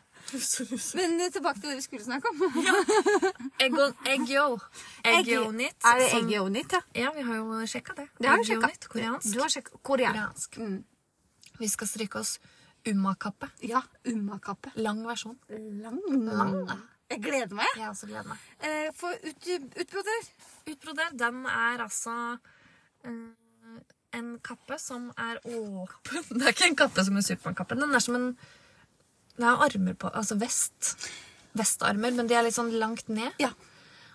Men eh, tilbake til det vi skulle snakke om.
Egg- Eggyo. Eggyonit.
Er det
som-
eggyonit, ja?
Ja, vi har jo sjekka det.
Det har vi sjekka.
Eggyonit, koreansk.
Du har sjekka koreansk.
koreansk.
Mm.
Vi skal stryke oss umakappe.
Ja, ummakappe.
Lang versjon.
Lang.
Lang, da.
Jeg gleder meg.
Jeg også gleder meg.
Eh, For ut, utbroder.
Utbroder, den er altså eh, en kappe som er åpen Det er ikke en kappe som en Supermann-kappe. Den er som en Det er armer på Altså vest. Vestarmer, men de er litt sånn langt ned.
Ja.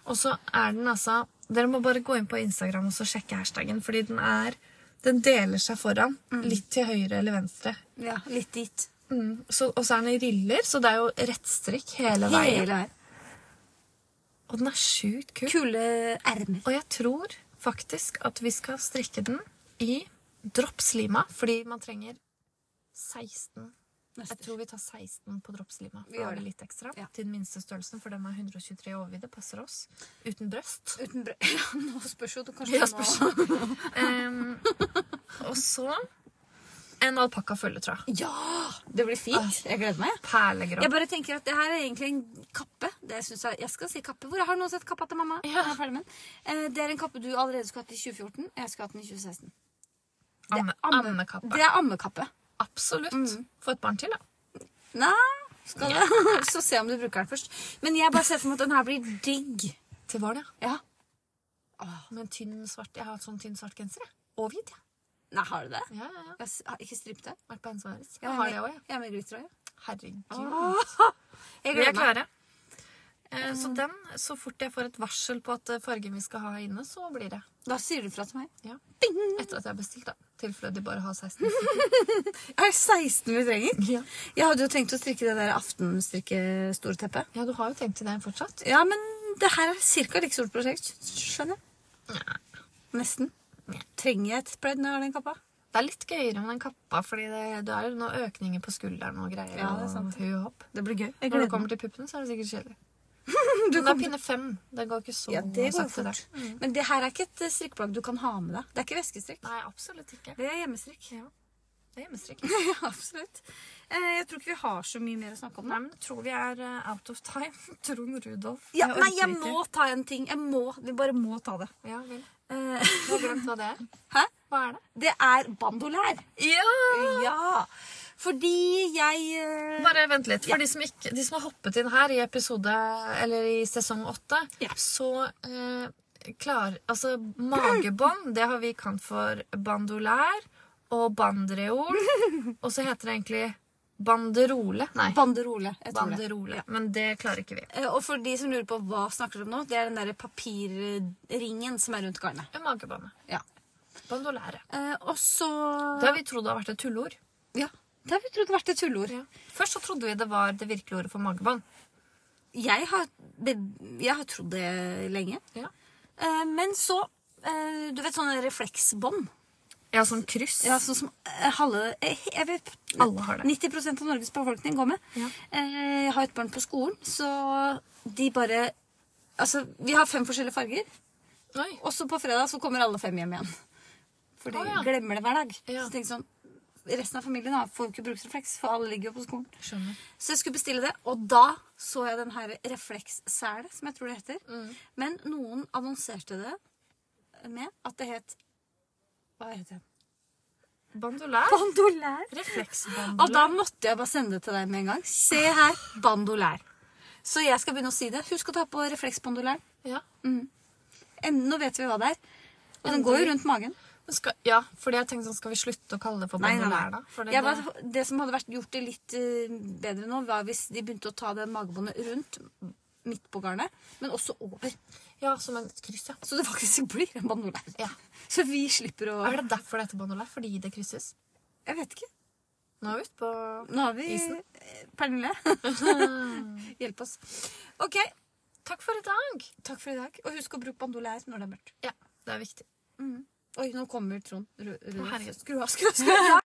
Og så er den altså Dere må bare gå inn på Instagram og så sjekke hashtagen, fordi den er Den deler seg foran. Litt til høyre eller venstre.
ja. Litt dit.
Mm. Så, og så er den i riller, så det er jo rettstrikk hele veien.
Hele veien.
Og den er sjukt kul.
Kule ermer.
Og jeg tror faktisk at vi skal strikke den i droppslima, fordi man trenger 16. Jeg tror vi tar 16 på droppslima.
Vi
for da
gjør
er det
det.
litt ekstra.
Ja.
Til den minste størrelsen, for den er 123 i overvidde. Passer oss. Uten brøst.
Uten brød. Ja, nå spørs jo du kanskje
Ja,
nå-
spørs. Em, og så en alpakkafølgetrøye.
Ja! Det blir fint.
Ah.
Jeg gleder meg. jeg.
Perlegrå.
Jeg bare tenker at det her er egentlig en kappe. Det synes jeg, jeg skal si kappe. Hvor har noen sett kappa til mamma?
Ja.
Jeg er ferdig med den. Eh, Det er en kappe du allerede skulle hatt i 2014. Jeg skulle hatt den i 2016.
Amme,
amme-
ammekappe.
Det er Mm. ammekappe.
Absolutt. Få et barn til, da.
Nei, skal du? Så se om du bruker den først. Men jeg bare ser for meg at den her blir digg.
Til våren, ja.
Ja.
Med en tynn svart Jeg har hatt sånn tynn svart genser, jeg. Og hvit, jeg.
Nei, har du det?
Ja, ja, ja.
Jeg s- har ikke stripete.
Vært på Hennes og Maurits. Jeg har det òg, jeg.
Jeg er med glitter òg,
Herregud.
ja. Jeg
Vi er
gleder meg.
klare. Eh, Så den, så fort jeg får et varsel på at eh, fargen vi skal ha inne, så blir det.
Da sier du fra til meg.
Ja.
Bing!
Etter at jeg har bestilt, da. tilfelle de bare har 16.
Er det 16 vi trenger?
Ja.
Jeg hadde jo tenkt å strikke det der aftenstrikke-storteppet.
ja, du har jo tenkt til det fortsatt.
Ja, men det her er cirka like stort prosjekt, skjønner jeg. Nesten. Trenger jeg et pledd når jeg har den kappa?
Det er litt gøyere med den kappa, fordi det, det er jo noen økninger på skulderen og greier.
Ja, det er sant.
Og hu og hopp.
Det blir gøy. Jeg
Når det
gleder meg.
kommer til puppene, så er det sikkert kjedelig. Men det er pinne fem. Det går ikke så
Ja, det går jo
sakte
fort.
der.
Men det her er ikke et eh, strikkeplagg du kan ha med deg. Det er ikke væskestrikk.
Nei, absolutt ikke.
Det er hjemmestrikk.
Ja. Det er hjemmestrikk.
Ja, absolutt. Eh, jeg tror ikke vi har så mye mer å snakke om nå.
Nei, men jeg tror vi er eh, out of time. Trond Rudolf.
Ja, nei,
orker
jeg
ikke.
må ta en ting. Jeg må. Vi bare må ta det.
Ja, vel.
Eh,
Du har glemt hva det er.
hæ?
Hva er det?
Det er bandolær.
Ja!
Ah. Ja. Fordi jeg eh,
Bare vent litt. For de, som ikke, de som har hoppet inn her i episode, eller i sesong åtte,
Ja.
så eh, klar, altså Magebånd, det har vi kalt for bandolær og bandreol. Og så heter det egentlig banderole. Nei,
Banderole. Jeg tror det.
banderole. Men det klarer ikke vi.
Eh, Og for de som lurer på hva snakker dere om nå, det er den der papirringen som er rundt garnet.
Magebåndet.
Ja.
Bandolære.
Eh, og så
Det har vi trodd har vært et tulleord.
Ja. Det har vi trodd vært et tulleord.
Først så trodde vi det var det virkelige ordet for magebånd.
Jeg, har be- jeg har trodd det lenge.
Ja.
Eh, men så eh, Du vet sånne refleksbånd?
Ja, sånn kryss.
Ja, sånn som eh, halve eh, jeg vet,
Alle har det.
90 av Norges befolkning går med.
Ja.
Eh, jeg har et barn på skolen, så de bare Altså, vi har fem forskjellige farger.
Oi.
Og så på fredag så kommer alle fem hjem igjen. For de
Å, ja.
glemmer det hver dag.
Ja.
Så tenk sånn resten av familien da, får jo ikke bruksrefleks, for alle ligger jo på skolen.
Skjønner.
Så jeg skulle bestille det, og da så jeg den her reflekssele, som jeg tror det heter.
Mm.
Men noen annonserte det med at det het Hva het det?
Bandolær?
Bandolær. Og
Refleksbandolær?
da måtte jeg bare sende det til deg med en gang. Se her, bandolær. Så jeg skal begynne å si det. Husk å ta på refleksbandolæren.
Ja.
En- Nå vet vi hva det er. Og den går jo rundt magen.
Men Skal, ja, fordi jeg tenkte sånn, skal vi slutte å kalle det for bandolær, da? For det-
Jeg
det-
var, det som hadde vært gjort det litt eh, bedre nå, var hvis de begynte å ta det magebåndet rundt midt på garnet, men også over.
ja, som en kryss, ja.
Så det faktisk blir en bandolær.
ja.
Så vi slipper å
Er det derfor det heter bandolær? Fordi det krysses?
Jeg vet ikke.
Nå er vi ute på
Nå har vi
Isen.
eh, Pernille. Hjelp oss. OK.
Takk for i dag!
Takk for i dag. Og husk å bruke bandolær når det er mørkt.
Ja, det er viktig.
Mm. Oi, nå kommer Trond. Ru- Rudolf.
herregud.
skru av, skru av. Skru av.